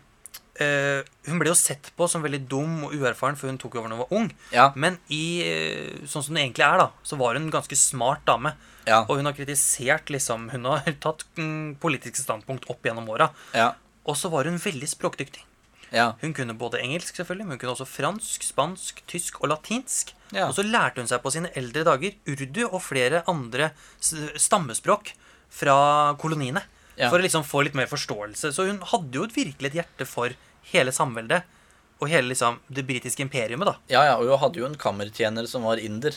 Speaker 2: eh, Hun ble jo sett på som veldig dum og uerfaren, for hun tok over da hun var ung.
Speaker 1: si. Ja,
Speaker 2: Men i, eh, sånn som hun egentlig er, da, så var hun en ganske smart dame.
Speaker 1: ja,
Speaker 2: Og hun har kritisert liksom Hun har tatt mm, politiske standpunkt opp gjennom åra.
Speaker 1: ja,
Speaker 2: Og så var hun veldig språkdyktig.
Speaker 1: ja.
Speaker 2: Hun kunne både engelsk, selvfølgelig, men hun kunne også fransk, spansk, tysk og latinsk.
Speaker 1: Ja.
Speaker 2: Og så lærte hun seg på sine eldre dager urdu og flere andre s- stammespråk fra koloniene.
Speaker 1: Ja.
Speaker 2: For å liksom få litt mer forståelse. Så hun hadde jo et virkelig et hjerte for hele samveldet. Og hele liksom det britiske imperiumet, da.
Speaker 1: Ja, ja, og hun hadde jo en kammertjener som var inder.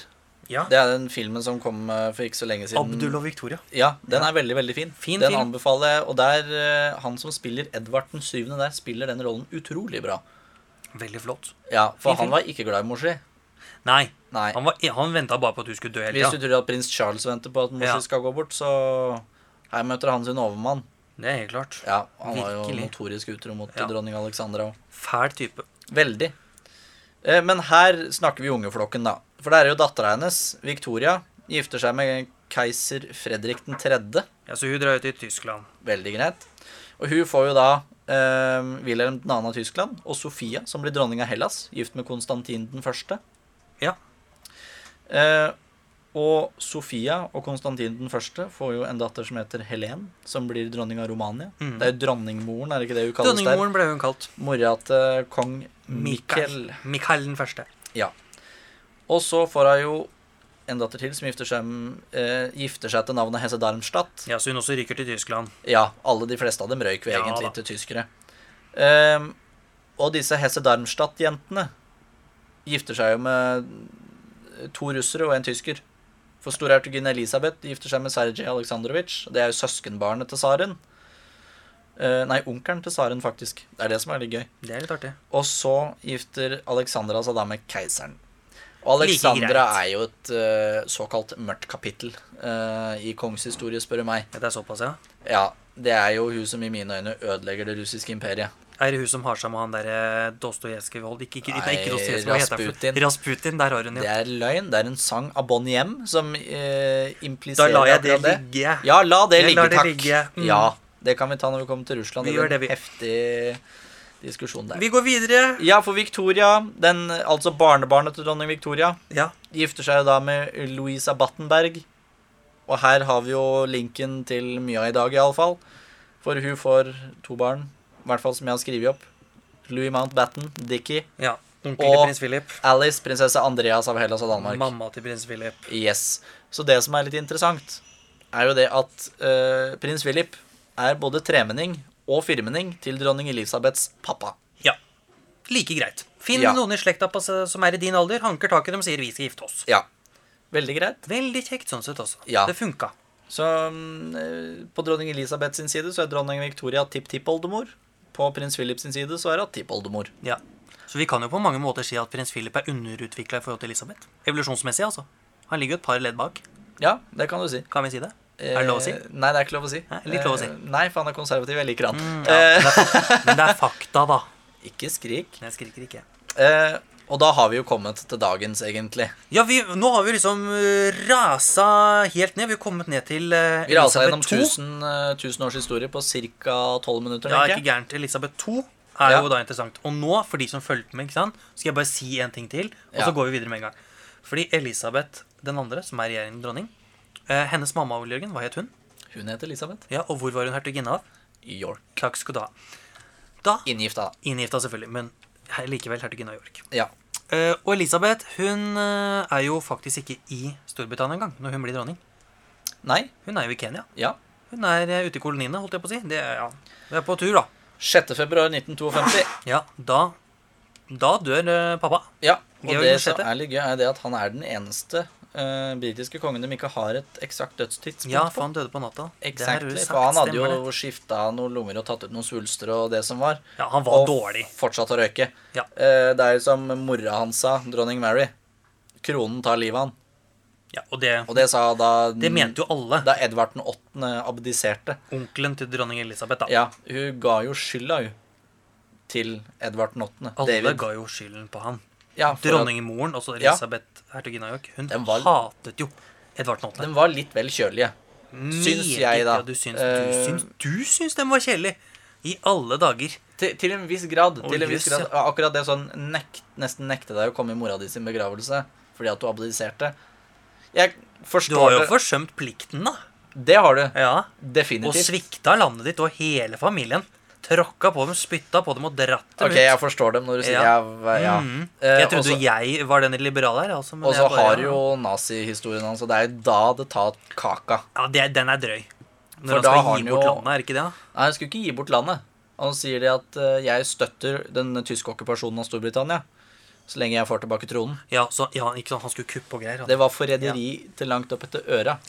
Speaker 2: Ja.
Speaker 1: Det er den filmen som kom eh, for ikke så lenge siden.
Speaker 2: Abdul og Victoria.
Speaker 1: Ja, den er veldig, veldig fin.
Speaker 2: Fin
Speaker 1: den
Speaker 2: film.
Speaker 1: anbefaler jeg. Og der, eh, han som spiller Edvard den syvende der, spiller den rollen utrolig bra.
Speaker 2: Veldig flott.
Speaker 1: Ja, For
Speaker 2: Fin film.
Speaker 1: han var ikke glad i mor si.
Speaker 2: Nei,
Speaker 1: Nei.
Speaker 2: han, var, han venta bare på at du skulle dø hele
Speaker 1: Hvis du
Speaker 2: tida.
Speaker 1: tror at prins Charles venter på at mor si
Speaker 2: Ja.
Speaker 1: skal gå bort, så her møter han sin overmann.
Speaker 2: Det er helt klart.
Speaker 1: Ja, Han var jo
Speaker 2: Virkelig.
Speaker 1: notorisk utro mot
Speaker 2: Ja.
Speaker 1: dronning Alexandra òg.
Speaker 2: Fæl type.
Speaker 1: Veldig. Eh, Men her snakker vi ungeflokken, da. For det er jo dattera hennes, Victoria, gifter seg med keiser Fredrik 3.
Speaker 2: Ja, Så hun drar jo til Tyskland.
Speaker 1: Veldig greit. Og hun får jo da eh, Wilhelm 2. av Tyskland og Sofia, som blir dronning av Hellas, gift med Konstantin den første.
Speaker 2: Ja.
Speaker 1: Eh, og Sofia og Konstantin den første får jo en datter som heter Helen, som blir dronning av Romania.
Speaker 2: Mhm.
Speaker 1: Det er jo dronningmoren, er det ikke det hun kalles der?
Speaker 2: Dronningmoren ble hun kalt.
Speaker 1: Mora til kong Mikkel.
Speaker 2: Mikael. Mikael den første.
Speaker 1: Og så får hun jo en datter til som gifter seg, eh, gifter seg til navnet Hesse Darmstadt. Ja.
Speaker 2: Ja, så hun også ryker til Tyskland.
Speaker 1: alle de fleste av dem røyk vi
Speaker 2: Ja,
Speaker 1: egentlig
Speaker 2: da.
Speaker 1: til tyskere. Ehm, og disse Hesse Darmstadt-jentene gifter seg jo med to russere og en tysker. For storhertuginne Elisabeth gifter seg med Sergej Aleksandrovitsj. Det er jo søskenbarnet til tsaren. Eh, nei, onkelen til tsaren, faktisk. Det er det som er litt gøy.
Speaker 2: Det er litt artig.
Speaker 1: Og så gifter Alexandra seg da med keiseren. Og
Speaker 2: Like
Speaker 1: Alexandra
Speaker 2: greit.
Speaker 1: er jo et eh, såkalt mørkt kapittel eh, i kongshistorie, spør du meg.
Speaker 2: Ja, det er såpass, ja.
Speaker 1: Ja, det er jo hun som i mine øyne ødelegger det russiske imperiet.
Speaker 2: Er det hun som har seg med han derre Dostojevskij-vold Ikke, ikke, nei, ikke
Speaker 1: Nei,
Speaker 2: Dostojevskij, hva heter han? for noe? Rasputin. Der har hun
Speaker 1: Det
Speaker 2: jo.
Speaker 1: er løgn. Det er en sang av Bon Hjem som eh,
Speaker 2: Da
Speaker 1: impliserer
Speaker 2: lar jeg det
Speaker 1: akkurat
Speaker 2: ligge.
Speaker 1: Ja, la det
Speaker 2: Jeg
Speaker 1: ligge,
Speaker 2: lar det
Speaker 1: takk.
Speaker 2: ligge. Mm.
Speaker 1: Ja, det kan vi ta når vi kommer til Russland.
Speaker 2: Vi
Speaker 1: det
Speaker 2: gjør det,
Speaker 1: blir
Speaker 2: vi.
Speaker 1: en heftig diskusjon der.
Speaker 2: Vi går videre.
Speaker 1: Ja, for Victoria, den, altså barnebarnet til dronning Victoria,
Speaker 2: Ja.
Speaker 1: gifter seg jo da med Louisa Battenberg. Og her har vi jo linken til Mia i dag, iallfall. For hun får to barn, i hvert fall som jeg har skrevet opp. Louis Mountbatten, Dickie,
Speaker 2: ja. Onkel
Speaker 1: Og-
Speaker 2: til prins Philip.
Speaker 1: Alice, prinsesse Andreas av Hellas og Danmark.
Speaker 2: Mamma til prins Philip.
Speaker 1: Yes. Så det som er litt interessant, er jo det at eh, prins Philip er både tremenning og firmenning til dronning Elisabeths pappa.
Speaker 2: Ja. Like greit. Finn
Speaker 1: Ja.
Speaker 2: noen i slekta på seg som er i din alder, hanker tak i dem og sier 'vi skal gifte oss'.
Speaker 1: Ja. Veldig greit.
Speaker 2: Veldig kjekt sånn sett også.
Speaker 1: Ja.
Speaker 2: Det funka.
Speaker 1: Så mm, eh, på dronning Elisabeth sin side så er dronning Victoria tipptippoldemor. På prins Philip sin side så er hun tippoldemor.
Speaker 2: Ja. Så vi kan jo på mange måter si at prins Philip er underutvikla i forhold til Elisabeth. Evolusjonsmessig, altså. Han ligger jo et par ledd bak.
Speaker 1: Ja, det kan du si.
Speaker 2: Kan vi si det? Er det lov å si?
Speaker 1: Eh, Nei, det er ikke lov å si.
Speaker 2: Nei, litt lov å si. Mm,
Speaker 1: Eh, Nei, for han er konservativ. Jeg liker han.
Speaker 2: Ja, men det er- men det er fakta, da.
Speaker 1: Eh, ikke skrik.
Speaker 2: Jeg skriker ikke.
Speaker 1: Eh, og da har vi jo kommet til dagens, egentlig.
Speaker 2: Ja, vi, nå har vi liksom eh, rasa helt ned. Vi har kommet ned til eh,
Speaker 1: Vi rasa gjennom
Speaker 2: Elisabeth 2.
Speaker 1: 1000, eh, 1000 års historie på ca. 12 minutter.
Speaker 2: Ja,
Speaker 1: tenker
Speaker 2: ikke
Speaker 1: jeg.
Speaker 2: gærent. Elisabeth 2 er
Speaker 1: Ja.
Speaker 2: jo da interessant. Og nå, for de som fulgte med, ikke sant, skal jeg bare si en ting til, og så
Speaker 1: Ja.
Speaker 2: går vi videre med en gang. Fordi Elisabeth den andre, som er regjeringen dronning, eh, hennes mamma, Ole Jørgen, hva het hun?
Speaker 1: Hun heter Elisabeth
Speaker 2: Ja, Og hvor var hun hertuginne av?
Speaker 1: York.
Speaker 2: Takk skal du ha. Da
Speaker 1: Inngifta, da.
Speaker 2: Inngifta, selvfølgelig, men her- likevel hertuginne av York.
Speaker 1: Ja.
Speaker 2: Eh, og Elisabeth hun eh, er jo faktisk ikke i Storbritannia engang når hun blir dronning.
Speaker 1: Nei.
Speaker 2: Hun er jo i Kenya.
Speaker 1: Ja.
Speaker 2: Hun er eh, ute i koloniene, holdt jeg på å si. Det er, ja. Hun er på tur, da.
Speaker 1: 6. februar 1952.
Speaker 2: Ja, da, da dør eh, pappa.
Speaker 1: Ja. Og
Speaker 2: Georg
Speaker 1: det
Speaker 2: den
Speaker 1: som
Speaker 2: sjette.
Speaker 1: er litt gøy, er det at han er den eneste eh, britiske kongen de ikke har et eksakt dødstidspunkt
Speaker 2: Ja,
Speaker 1: på.
Speaker 2: for han døde på natta. Det har du
Speaker 1: Exactly,
Speaker 2: sagt,
Speaker 1: for han hadde
Speaker 2: stemmer
Speaker 1: jo
Speaker 2: det.
Speaker 1: skifta noen lunger og tatt ut noen svulster og det som var.
Speaker 2: Ja, han var
Speaker 1: og
Speaker 2: dårlig.
Speaker 1: fortsatt å røyke.
Speaker 2: Ja.
Speaker 1: Eh, det er jo som mora hans sa, dronning Mary. Kronen tar livet av han.
Speaker 2: Ja, og det,
Speaker 1: Og det sa da
Speaker 2: det mente jo alle.
Speaker 1: Da Edvard 8. abdiserte.
Speaker 2: Onkelen til dronning Elisabeth, da.
Speaker 1: Ja, hun ga jo skylda, hun. Til Edvard 8.
Speaker 2: alle
Speaker 1: David.
Speaker 2: ga jo skylden på han.
Speaker 1: Ja, for at
Speaker 2: Dronningmoren, altså
Speaker 1: Ja.
Speaker 2: Elisabeth hertuginne av York, hun
Speaker 1: Den var-
Speaker 2: hatet jo Edvard den åttende.
Speaker 1: De var litt vel kjølige. Syns
Speaker 2: Meget
Speaker 1: jeg, da.
Speaker 2: Ja, du syns, du,
Speaker 1: Eh,
Speaker 2: syns, du syns den var kjedelig! I alle dager.
Speaker 1: Til, til en viss grad.
Speaker 2: Å,
Speaker 1: til en viss
Speaker 2: jøss,
Speaker 1: grad. Akkurat det sånn nekt, nesten nekte deg å komme i mora di sin begravelse fordi at du abdiserte. Jeg
Speaker 2: Du har
Speaker 1: forstår
Speaker 2: jo
Speaker 1: det.
Speaker 2: forsømt plikten, da.
Speaker 1: Det har du.
Speaker 2: Ja. Og
Speaker 1: Definitivt.
Speaker 2: svikta landet ditt og hele familien. Tråkka på dem, spytta på dem og dratt dem
Speaker 1: Ok,
Speaker 2: ut.
Speaker 1: jeg forstår dem når du sier ja.
Speaker 2: Ja.
Speaker 1: ja, ja.
Speaker 2: Mm.
Speaker 1: Eh,
Speaker 2: Jeg trodde
Speaker 1: også-
Speaker 2: jeg var den liberale her. Altså, men
Speaker 1: Og så
Speaker 2: jeg bare-
Speaker 1: har jo nazihistorien hans, og det er jo da det tar kaka.
Speaker 2: Ja, det, Den er drøy. Når
Speaker 1: For da
Speaker 2: han skal
Speaker 1: har
Speaker 2: gi
Speaker 1: han
Speaker 2: bort
Speaker 1: jo-
Speaker 2: landet, er det ikke det? da?
Speaker 1: Nei, han skulle ikke gi bort landet. Han sier det at eh, jeg støtter den tyske okkupasjonen av Storbritannia så lenge jeg får tilbake tronen.
Speaker 2: Ja, så, ja ikke sant, Han skulle kuppe og greier. han.
Speaker 1: Det var forræderi til langt opp etter øra.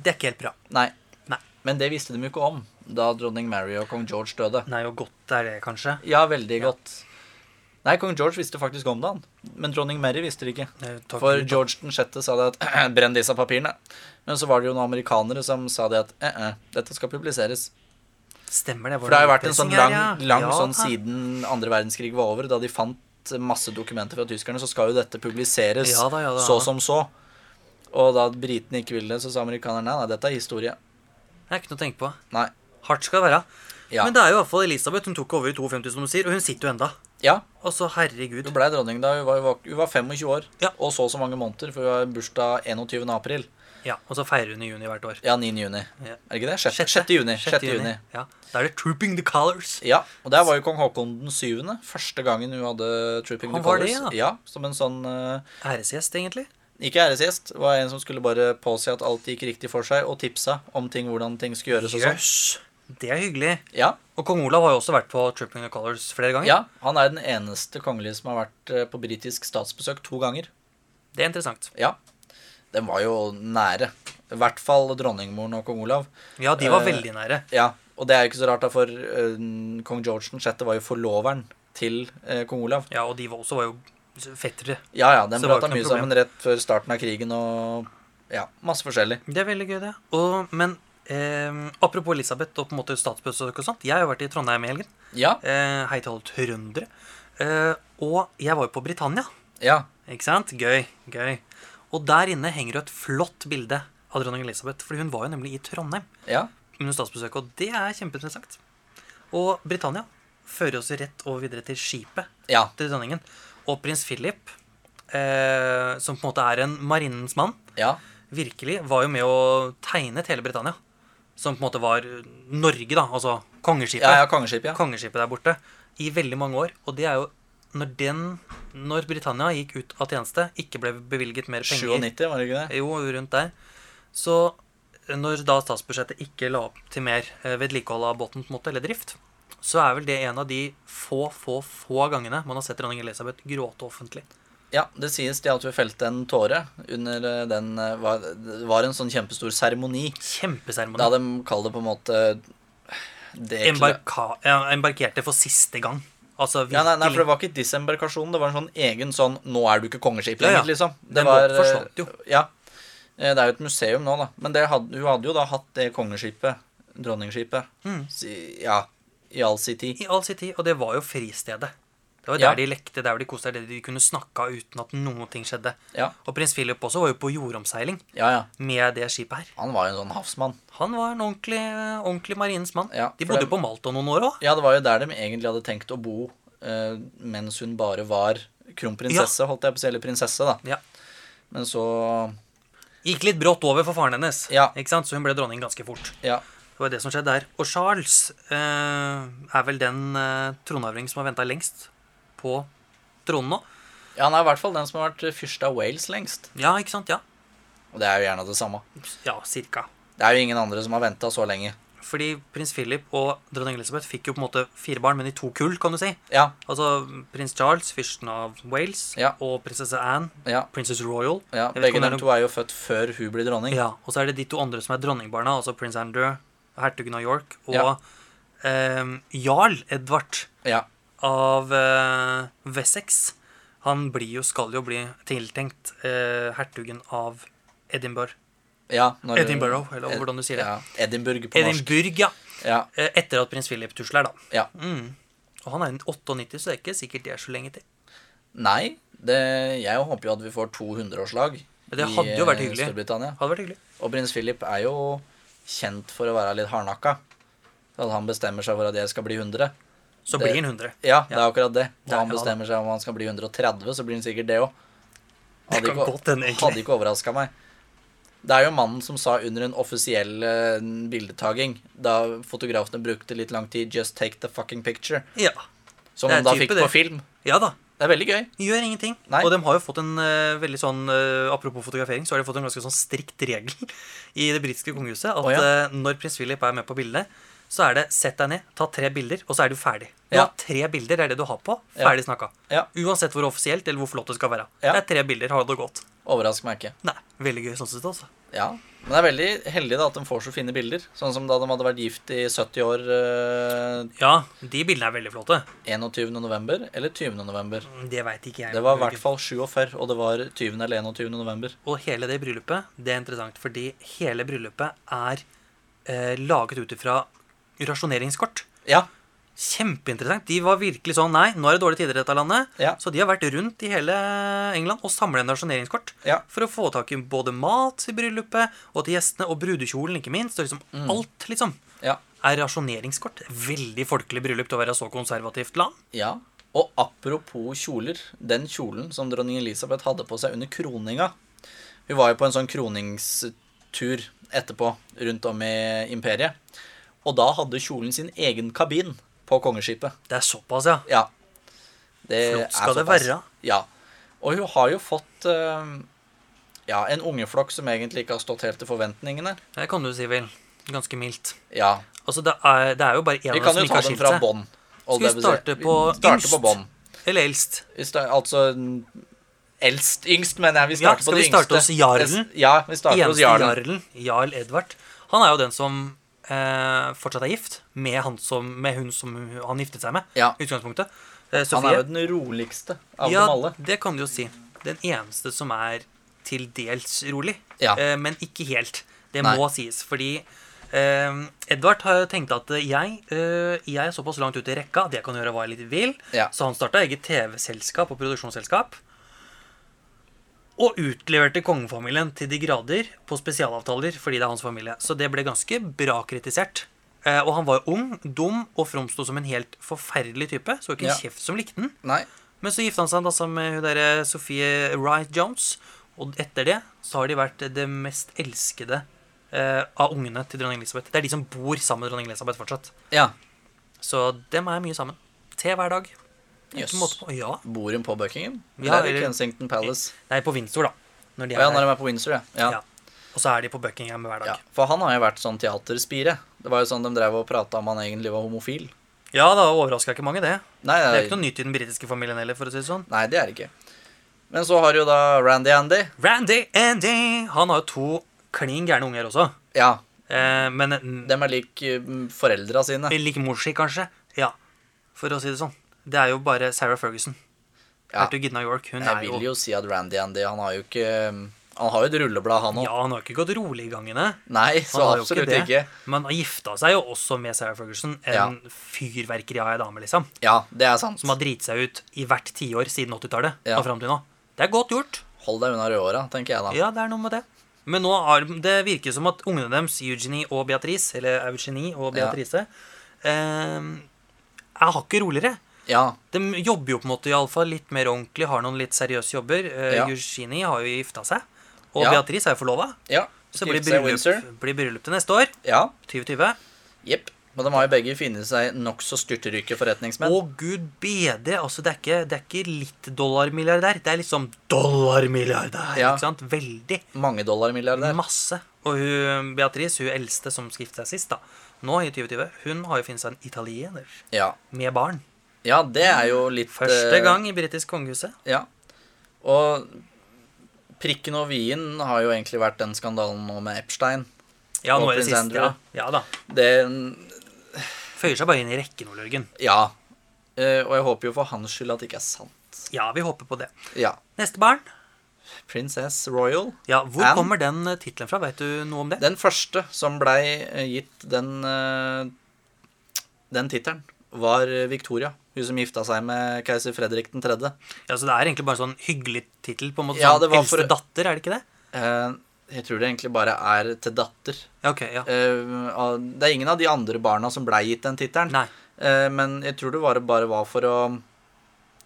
Speaker 2: Det er ikke helt bra.
Speaker 1: Nei.
Speaker 2: Nei.
Speaker 1: Men det visste de jo ikke om da dronning Mary og kong George døde.
Speaker 2: Nei, og godt er det, kanskje.
Speaker 1: Ja, veldig godt. Nei, kong George visste faktisk om det, han. Men dronning Mary visste det ikke.
Speaker 2: Eh, takk
Speaker 1: For
Speaker 2: Gud.
Speaker 1: George den sjette sa det at brenn disse papirene. Men så var det jo noen amerikanere som sa det at eh, eh, dette skal publiseres.
Speaker 2: Stemmer det. var
Speaker 1: For det har jo vært en
Speaker 2: opprensing
Speaker 1: sånn
Speaker 2: her,
Speaker 1: lang,
Speaker 2: ja.
Speaker 1: lang
Speaker 2: Ja,
Speaker 1: sånn
Speaker 2: da.
Speaker 1: siden andre verdenskrig var over, da de fant masse dokumenter fra tyskerne, så skal jo dette publiseres
Speaker 2: Ja da, ja da, ja
Speaker 1: så
Speaker 2: da.
Speaker 1: som så. Og da britene ikke ville det, så sa amerikanerne nei, nei, dette er historie.
Speaker 2: Det er ikke noe å tenke på.
Speaker 1: Nei.
Speaker 2: Hardt skal det være.
Speaker 1: Ja.
Speaker 2: Men det er jo i hvert fall Elisabeth. Hun tok over i 52, som du sier, og hun sitter jo enda.
Speaker 1: ja.
Speaker 2: Og så, herregud.
Speaker 1: Hun blei dronning da hun var, hun var- hun var 25 år
Speaker 2: Ja.
Speaker 1: og så så mange måneder, for hun har bursdag 21. april.
Speaker 2: Ja, Og så feirer hun i juni hvert år.
Speaker 1: Ja, 9. juni.
Speaker 2: Ja.
Speaker 1: Er det ikke det? 6. juni. 6. juni.
Speaker 2: Ja. Da er det 'Trooping the Colors'.
Speaker 1: Ja, og der var jo kong Haakon den syvende. Første gangen hun hadde Trooping
Speaker 2: Han
Speaker 1: the
Speaker 2: var
Speaker 1: Colors.
Speaker 2: det,
Speaker 1: ja, som en sånn eh,
Speaker 2: Æresgjest, egentlig.
Speaker 1: Ikke æresgjest. Var en som skulle bare påse at alt gikk riktig for seg, og tipsa om ting, hvordan ting skulle gjøres og sånn.
Speaker 2: Jøss. Det er hyggelig.
Speaker 1: Ja,
Speaker 2: Og kong Olav har jo også vært på Tripping the Colors flere ganger.
Speaker 1: ja, han er den eneste kongelige som har vært eh, på britisk statsbesøk to ganger.
Speaker 2: Det er interessant.
Speaker 1: Ja. Den var jo nære. I hvert fall dronningmoren og kong Olav.
Speaker 2: Ja, de var
Speaker 1: Eh,
Speaker 2: veldig nære.
Speaker 1: Ja, Og det er jo ikke så rart, da, for eh, kong George 6. var jo forloveren til eh, kong Olav.
Speaker 2: Ja, og de var også var jo fettere.
Speaker 1: Ja ja, den
Speaker 2: Så det var
Speaker 1: prata
Speaker 2: ikke noe
Speaker 1: mye sammen rett før starten av krigen og ja, masse forskjellig.
Speaker 2: Det er veldig gøy, det. Og, men eh, apropos Elisabeth og på en måte statsbesøk og sånt. Jeg har jo vært i Trondheim i helgen.
Speaker 1: Ja,
Speaker 2: Eh, hei til alle trøndere. Eh, og jeg var jo på Britannia.
Speaker 1: ja.
Speaker 2: Ikke sant? Gøy. Gøy. Og der inne henger jo et flott bilde av dronning Elisabeth. Fordi hun var jo nemlig i Trondheim
Speaker 1: Ja.
Speaker 2: under statsbesøket, og det er kjempeinteressant. Og Britannia fører oss jo rett over videre til skipet
Speaker 1: Ja.
Speaker 2: til dronningen. Og prins Philip, eh, som på en måte er en marinens mann,
Speaker 1: ja.
Speaker 2: virkelig var jo med å tegne hele Britannia. Som på en måte var eh, Norge, da. Altså kongeskipet.
Speaker 1: Ja, ja, kongeskip, ja.
Speaker 2: Kongeskipet der borte. I veldig mange år. Og det er jo når den Når Britannia gikk ut av tjeneste, ikke ble bevilget mer penger
Speaker 1: 97, var det ikke det?
Speaker 2: Jo, rundt der. Så eh, når da statsbudsjettet ikke la opp til mer eh, vedlikehold av båten, på en måte, eller drift, så er vel det en av de få, få, få gangene man har sett dronning Elisabeth gråte offentlig.
Speaker 1: Ja, det sies det at vi felte en tåre under eh, den eh, var- Det var en sånn kjempestor seremoni. Da
Speaker 2: Kjempeseremoni.
Speaker 1: de kaller det på en måte eh, det
Speaker 2: Embarka, ja, embarkerte for siste gang. Altså
Speaker 1: ja, nei, nei, for
Speaker 2: virkelig.
Speaker 1: det var ikke disembarkasjon. Det var en sånn egen sånn 'nå er du ikke kongeskip
Speaker 2: Ja, ja.
Speaker 1: lenger', liksom. Det
Speaker 2: Den
Speaker 1: var,
Speaker 2: båten forsvant jo.
Speaker 1: eh, Ja. Eh, Det er jo et museum nå, da. Men det hadde, hun hadde jo da hatt det kongeskipet,
Speaker 2: Mm.
Speaker 1: dronningskipet, si, ja, i all sin tid.
Speaker 2: I all sin tid. Og det var jo fristedet Det var jo
Speaker 1: Ja.
Speaker 2: der de lekte, der hvor de koste seg, der de kunne snakka uten at noen ting skjedde.
Speaker 1: Ja,
Speaker 2: Og prins Philip også var jo på jordomseiling
Speaker 1: ja. ja.
Speaker 2: med det skipet her.
Speaker 1: Han var jo en sånn havsmann.
Speaker 2: Han var en ordentlig, eh, ordentlig marinens mann.
Speaker 1: Ja,
Speaker 2: de
Speaker 1: for
Speaker 2: bodde
Speaker 1: det-
Speaker 2: jo på Malta noen år òg.
Speaker 1: Ja, det var jo der de egentlig hadde tenkt å bo eh, mens hun bare var kronprinsesse, holdt jeg på å si, eller prinsesse, da.
Speaker 2: Ja.
Speaker 1: Men så
Speaker 2: Gikk litt brått over for faren hennes,
Speaker 1: Ja.
Speaker 2: ikke sant? så hun ble dronning ganske fort.
Speaker 1: Ja.
Speaker 2: Det var det som skjedde der. Og Charles eh, er vel den eh, tronarvingen som har venta lengst på tronen nå.
Speaker 1: ja han er i hvert fall den som har vært fyrst av Wales lengst.
Speaker 2: Ja, ikke sant? Ja.
Speaker 1: Og det er jo gjerne det samme.
Speaker 2: ja, cirka.
Speaker 1: Det er jo ingen andre som har venta så lenge.
Speaker 2: Fordi prins Philip og dronning Elizabeth fikk jo på en måte fire barn, men i to kull, kan du si.
Speaker 1: Ja,
Speaker 2: Altså prins Charles, fyrsten av Wales,
Speaker 1: Ja.
Speaker 2: og prinsesse Anne,
Speaker 1: ja,
Speaker 2: princess royal.
Speaker 1: ja.
Speaker 2: Jeg vet ikke
Speaker 1: Begge
Speaker 2: om det er
Speaker 1: de
Speaker 2: noe-
Speaker 1: to er jo født før hun blir dronning.
Speaker 2: Ja, Og så er det de to andre som er dronningbarna, altså prins Andrew, hertugen av York, og
Speaker 1: Ja.
Speaker 2: eh, jarl Edvard
Speaker 1: Ja.
Speaker 2: av eh, Wessex. Han blir jo, skal jo bli tiltenkt eh, hertugen av Edinburgh.
Speaker 1: Ja, når-
Speaker 2: Edinburgh, eller hvordan du sier det.
Speaker 1: Ja, Edinburgh på norsk.
Speaker 2: Edinburgh, ja.
Speaker 1: Ja,
Speaker 2: Eh, Etter at prins Philip tusler, da.
Speaker 1: ja.
Speaker 2: Mm. Og han er en 98, så det er ikke sikkert det er så lenge til.
Speaker 1: Nei, det, jeg håper jo at vi får 200-årslag
Speaker 2: Men det hadde jo vært
Speaker 1: eh,
Speaker 2: hyggelig.
Speaker 1: Storbritannia.
Speaker 2: Hadde vært hyggelig.
Speaker 1: Og prins Philip er jo kjent for å være litt hardnakka. At han bestemmer seg for at jeg skal bli 100.
Speaker 2: Så
Speaker 1: Det-
Speaker 2: blir han 100.
Speaker 1: Ja, det er akkurat det. Og
Speaker 2: Der,
Speaker 1: han
Speaker 2: ja.
Speaker 1: bestemmer seg om han skal bli 130, så blir han sikkert det òg.
Speaker 2: Det kan godt hende,
Speaker 1: Hadde
Speaker 2: egentlig.
Speaker 1: ikke overraska meg. Det er jo mannen som sa under en offisiell eh, bildetaking, da fotografene brukte litt lang tid, 'Just take the fucking picture',
Speaker 2: Ja.
Speaker 1: som
Speaker 2: Det er
Speaker 1: de da
Speaker 2: type
Speaker 1: fikk
Speaker 2: det.
Speaker 1: på film.
Speaker 2: ja da.
Speaker 1: Det er veldig gøy.
Speaker 2: Gjør ingenting.
Speaker 1: Nei.
Speaker 2: Og de har jo fått en eh, veldig sånn eh, Apropos fotografering, så har de fått en ganske sånn strikt regel i det britiske kongehuset at
Speaker 1: Å, ja.
Speaker 2: eh, når prins Philip er med på bildene, så er det sett deg ned, ta tre bilder, og så er du ferdig. Du
Speaker 1: Ja.
Speaker 2: har tre bilder, det er det du har på.
Speaker 1: Ja.
Speaker 2: Ferdig snakka.
Speaker 1: Ja.
Speaker 2: Uansett hvor offisielt eller hvor flott det skal være.
Speaker 1: Ja.
Speaker 2: Det er tre bilder, har det gått.
Speaker 1: Overrasker meg ikke.
Speaker 2: Nei, veldig gøy sånn sett, altså.
Speaker 1: Ja. Men det er veldig heldig da at de får så fine bilder. Sånn som da de hadde vært gift i 70 år eh,
Speaker 2: Ja, de bildene er veldig flotte.
Speaker 1: 21. november eller 20. november.
Speaker 2: Det veit ikke jeg.
Speaker 1: Det var i hvert fall 47, og det var 20. eller 21. november.
Speaker 2: Og hele det bryllupet, det er interessant, fordi hele bryllupet er eh, laget ut ifra rasjoneringskort.
Speaker 1: Ja.
Speaker 2: Kjempeinteressant. De var virkelig sånn Nei, nå er det dårlige tider i dette landet.
Speaker 1: Ja.
Speaker 2: Så de har vært rundt i hele England og samla inn rasjoneringskort
Speaker 1: Ja.
Speaker 2: for å få tak i både mat til bryllupet og til gjestene, og brudekjolen, ikke minst. Og liksom
Speaker 1: Mm.
Speaker 2: alt, liksom,
Speaker 1: Ja.
Speaker 2: er rasjoneringskort. Veldig folkelig bryllup til å være så konservativt land.
Speaker 1: ja. Og apropos kjoler. Den kjolen som dronning Elisabeth hadde på seg under kroninga Hun var jo på en sånn kroningstur etterpå rundt om i imperiet. Og da hadde kjolen sin egen kabin på kongeskipet.
Speaker 2: Det er såpass, ja.
Speaker 1: Ja. Det
Speaker 2: Flott skal
Speaker 1: er
Speaker 2: det
Speaker 1: såpass.
Speaker 2: være.
Speaker 1: Ja. Og hun har jo fått eh, ja, en ungeflokk som egentlig ikke har stått helt til forventningene.
Speaker 2: Det kan du si, vel. Ganske mildt.
Speaker 1: Ja.
Speaker 2: Altså, det er, det er jo bare én
Speaker 1: Vi
Speaker 2: av
Speaker 1: kan
Speaker 2: oss som
Speaker 1: jo ta
Speaker 2: ikke har
Speaker 1: dem
Speaker 2: skilt
Speaker 1: fra
Speaker 2: seg.
Speaker 1: bånn. Og
Speaker 2: Skal vi
Speaker 1: det vil si-
Speaker 2: starte på
Speaker 1: vi starter
Speaker 2: yngst?
Speaker 1: på bånn?
Speaker 2: Eller eldst.
Speaker 1: Vi sta- Altså n- eldst Yngst, mener jeg. Vi
Speaker 2: Ja,
Speaker 1: starter
Speaker 2: skal
Speaker 1: på det
Speaker 2: vi starte
Speaker 1: yngste.
Speaker 2: hos jarlen?
Speaker 1: Ja, vi starter hos
Speaker 2: Eneste
Speaker 1: jarlen.
Speaker 2: jarlen, jarl Edvard, han er jo den som eh, fortsatt er gift med, han som, med hun som han giftet seg med.
Speaker 1: Ja.
Speaker 2: i Utgangspunktet. Eh,
Speaker 1: Han er jo
Speaker 2: Sofie.
Speaker 1: den roligste av
Speaker 2: Ja,
Speaker 1: dem alle.
Speaker 2: det kan du jo si. Den eneste som er til dels rolig,
Speaker 1: Ja.
Speaker 2: eh, men ikke helt. Det
Speaker 1: Nei.
Speaker 2: må sies, fordi eh, Edvard har tenkt at eh, jeg, eh, jeg er såpass langt ute i rekka at jeg kan gjøre hva jeg litt vil,
Speaker 1: Ja.
Speaker 2: så han starta eget TV-selskap og produksjonsselskap. Og utleverte kongefamilien til de grader på spesialavtaler fordi det er hans familie. Så det ble ganske bra kritisert. Eh, og han var ung, dum og framsto som en helt forferdelig type. Så ikke en
Speaker 1: Ja.
Speaker 2: kjeft som likte den.
Speaker 1: Nei.
Speaker 2: Men så gifta han seg da sammen med hun derre Sophie Wright Jones. Og etter det så har de vært det mest elskede eh, av ungene til dronning Elisabeth. Det er de som bor sammen med dronning Elisabeth fortsatt.
Speaker 1: Ja.
Speaker 2: Så dem er mye sammen. Te hver dag. Ikke
Speaker 1: Jøss.
Speaker 2: måte på. Ja.
Speaker 1: Bor hun på Buckingham?
Speaker 2: Ja,
Speaker 1: eller er det
Speaker 2: eller-
Speaker 1: Kensington Palace?
Speaker 2: Nei, på Windsor, da. Når de
Speaker 1: Å ja,
Speaker 2: er
Speaker 1: når
Speaker 2: der.
Speaker 1: de er på Windsor, ja. ja.
Speaker 2: Ja. Og så er de på Buckingham hver
Speaker 1: Ja,
Speaker 2: dag.
Speaker 1: for han har jo vært sånn teaterspire. Det var jo sånn de drev og prata om han egentlig var homofil.
Speaker 2: Ja, da overraska ikke mange, det.
Speaker 1: Nei,
Speaker 2: Det er
Speaker 1: nei,
Speaker 2: ikke noe nytt i den britiske familien heller, for å si det sånn.
Speaker 1: nei det er det ikke. Men så har du jo da Randy Andy.
Speaker 2: Randy Andy! Han har jo to klin gærne unger også.
Speaker 1: Ja,
Speaker 2: Eh, men mm,
Speaker 1: dem er lik eh, foreldra sine.
Speaker 2: like morsi, kanskje. Ja, for å si det sånn. Det er jo bare Sarah Ferguson.
Speaker 1: Ja.
Speaker 2: Hertuginnen av York. Hun
Speaker 1: Jeg
Speaker 2: er
Speaker 1: vil
Speaker 2: jo
Speaker 1: jo si at Randy Andy, han har jo ikke eh, Han har jo et rulleblad, han òg.
Speaker 2: Ja, han har ikke gått rolig i gangene.
Speaker 1: Nei, så
Speaker 2: Han har jo
Speaker 1: absolutt
Speaker 2: det.
Speaker 1: ikke,
Speaker 2: Men han gifta seg jo også med Sarah Ferguson, en fyrverkeri av ei dame, liksom.
Speaker 1: Ja, det er sant.
Speaker 2: Som har driti seg ut i hvert tiår siden 80-tallet
Speaker 1: Ja.
Speaker 2: og fram til nå. Det er godt gjort.
Speaker 1: Hold deg unna rødhåra, tenker jeg da.
Speaker 2: Ja, det er noe med det. Men nå har, det virker som at ungene deres, Eugenie og Beatrice, eller Eugenie og
Speaker 1: Ja.
Speaker 2: Beatrice, eh, er hakket roligere.
Speaker 1: Ja.
Speaker 2: De jobber jo på en måte i alle fall litt mer ordentlig, har noen litt seriøse jobber. Eh,
Speaker 1: Ja.
Speaker 2: Eugenie har jo gifta seg, og
Speaker 1: Ja.
Speaker 2: Beatrice er jo forlova.
Speaker 1: ja.
Speaker 2: Så det blir
Speaker 1: Gifte seg i Windsor.
Speaker 2: bryllup, blir bryllup til neste år.
Speaker 1: Ja,
Speaker 2: 2020.
Speaker 1: jepp. Men de har jo begge funnet seg nokså styrterike forretningsmenn.
Speaker 2: Å, gud bedre! Altså, det er ikke, det er ikke litt dollarmilliardær. Det er liksom dollarmilliardær!
Speaker 1: Ja.
Speaker 2: Ikke sant? Veldig.
Speaker 1: Mange dollarmilliardær.
Speaker 2: Masse. Og hun, Beatrice, hun eldste som skiftet seg sist, da, nå i 2020, hun har jo funnet seg en italiener
Speaker 1: Ja.
Speaker 2: med barn.
Speaker 1: ja, det er jo litt
Speaker 2: Første
Speaker 1: eh,
Speaker 2: gang i britisk kongehuset.
Speaker 1: Ja. Og prikken over i-en har jo egentlig vært den skandalen nå med Epstein.
Speaker 2: Ja,
Speaker 1: og
Speaker 2: nå er det
Speaker 1: prins
Speaker 2: sist,
Speaker 1: Andrew.
Speaker 2: ja. ja da.
Speaker 1: Det
Speaker 2: Føyer seg bare inn i rekken, Ole Jørgen.
Speaker 1: Ja. Eh, og jeg håper jo for hans skyld at det ikke er sant.
Speaker 2: Ja, vi håper på det.
Speaker 1: Ja.
Speaker 2: Neste barn.
Speaker 1: Princess Royal.
Speaker 2: Ja, Hvor
Speaker 1: Anne.
Speaker 2: kommer den eh, tittelen fra? Vet du noe om det?
Speaker 1: Den første som blei eh, gitt den eh, Den tittelen, var Victoria. Hun som gifta seg med keiser Fredrik 3.
Speaker 2: Ja, så Det er egentlig bare en sånn hyggelig tittel. på en måte,
Speaker 1: Ja, det
Speaker 2: sånn
Speaker 1: var
Speaker 2: Eldste
Speaker 1: for-
Speaker 2: datter, er det ikke det?
Speaker 1: Eh, jeg tror det egentlig bare er til datter.
Speaker 2: Ja, ok, ja.
Speaker 1: Eh, av- det er ingen av de andre barna som blei gitt den tittelen.
Speaker 2: Nei.
Speaker 1: Eh, men jeg tror det var, bare var for å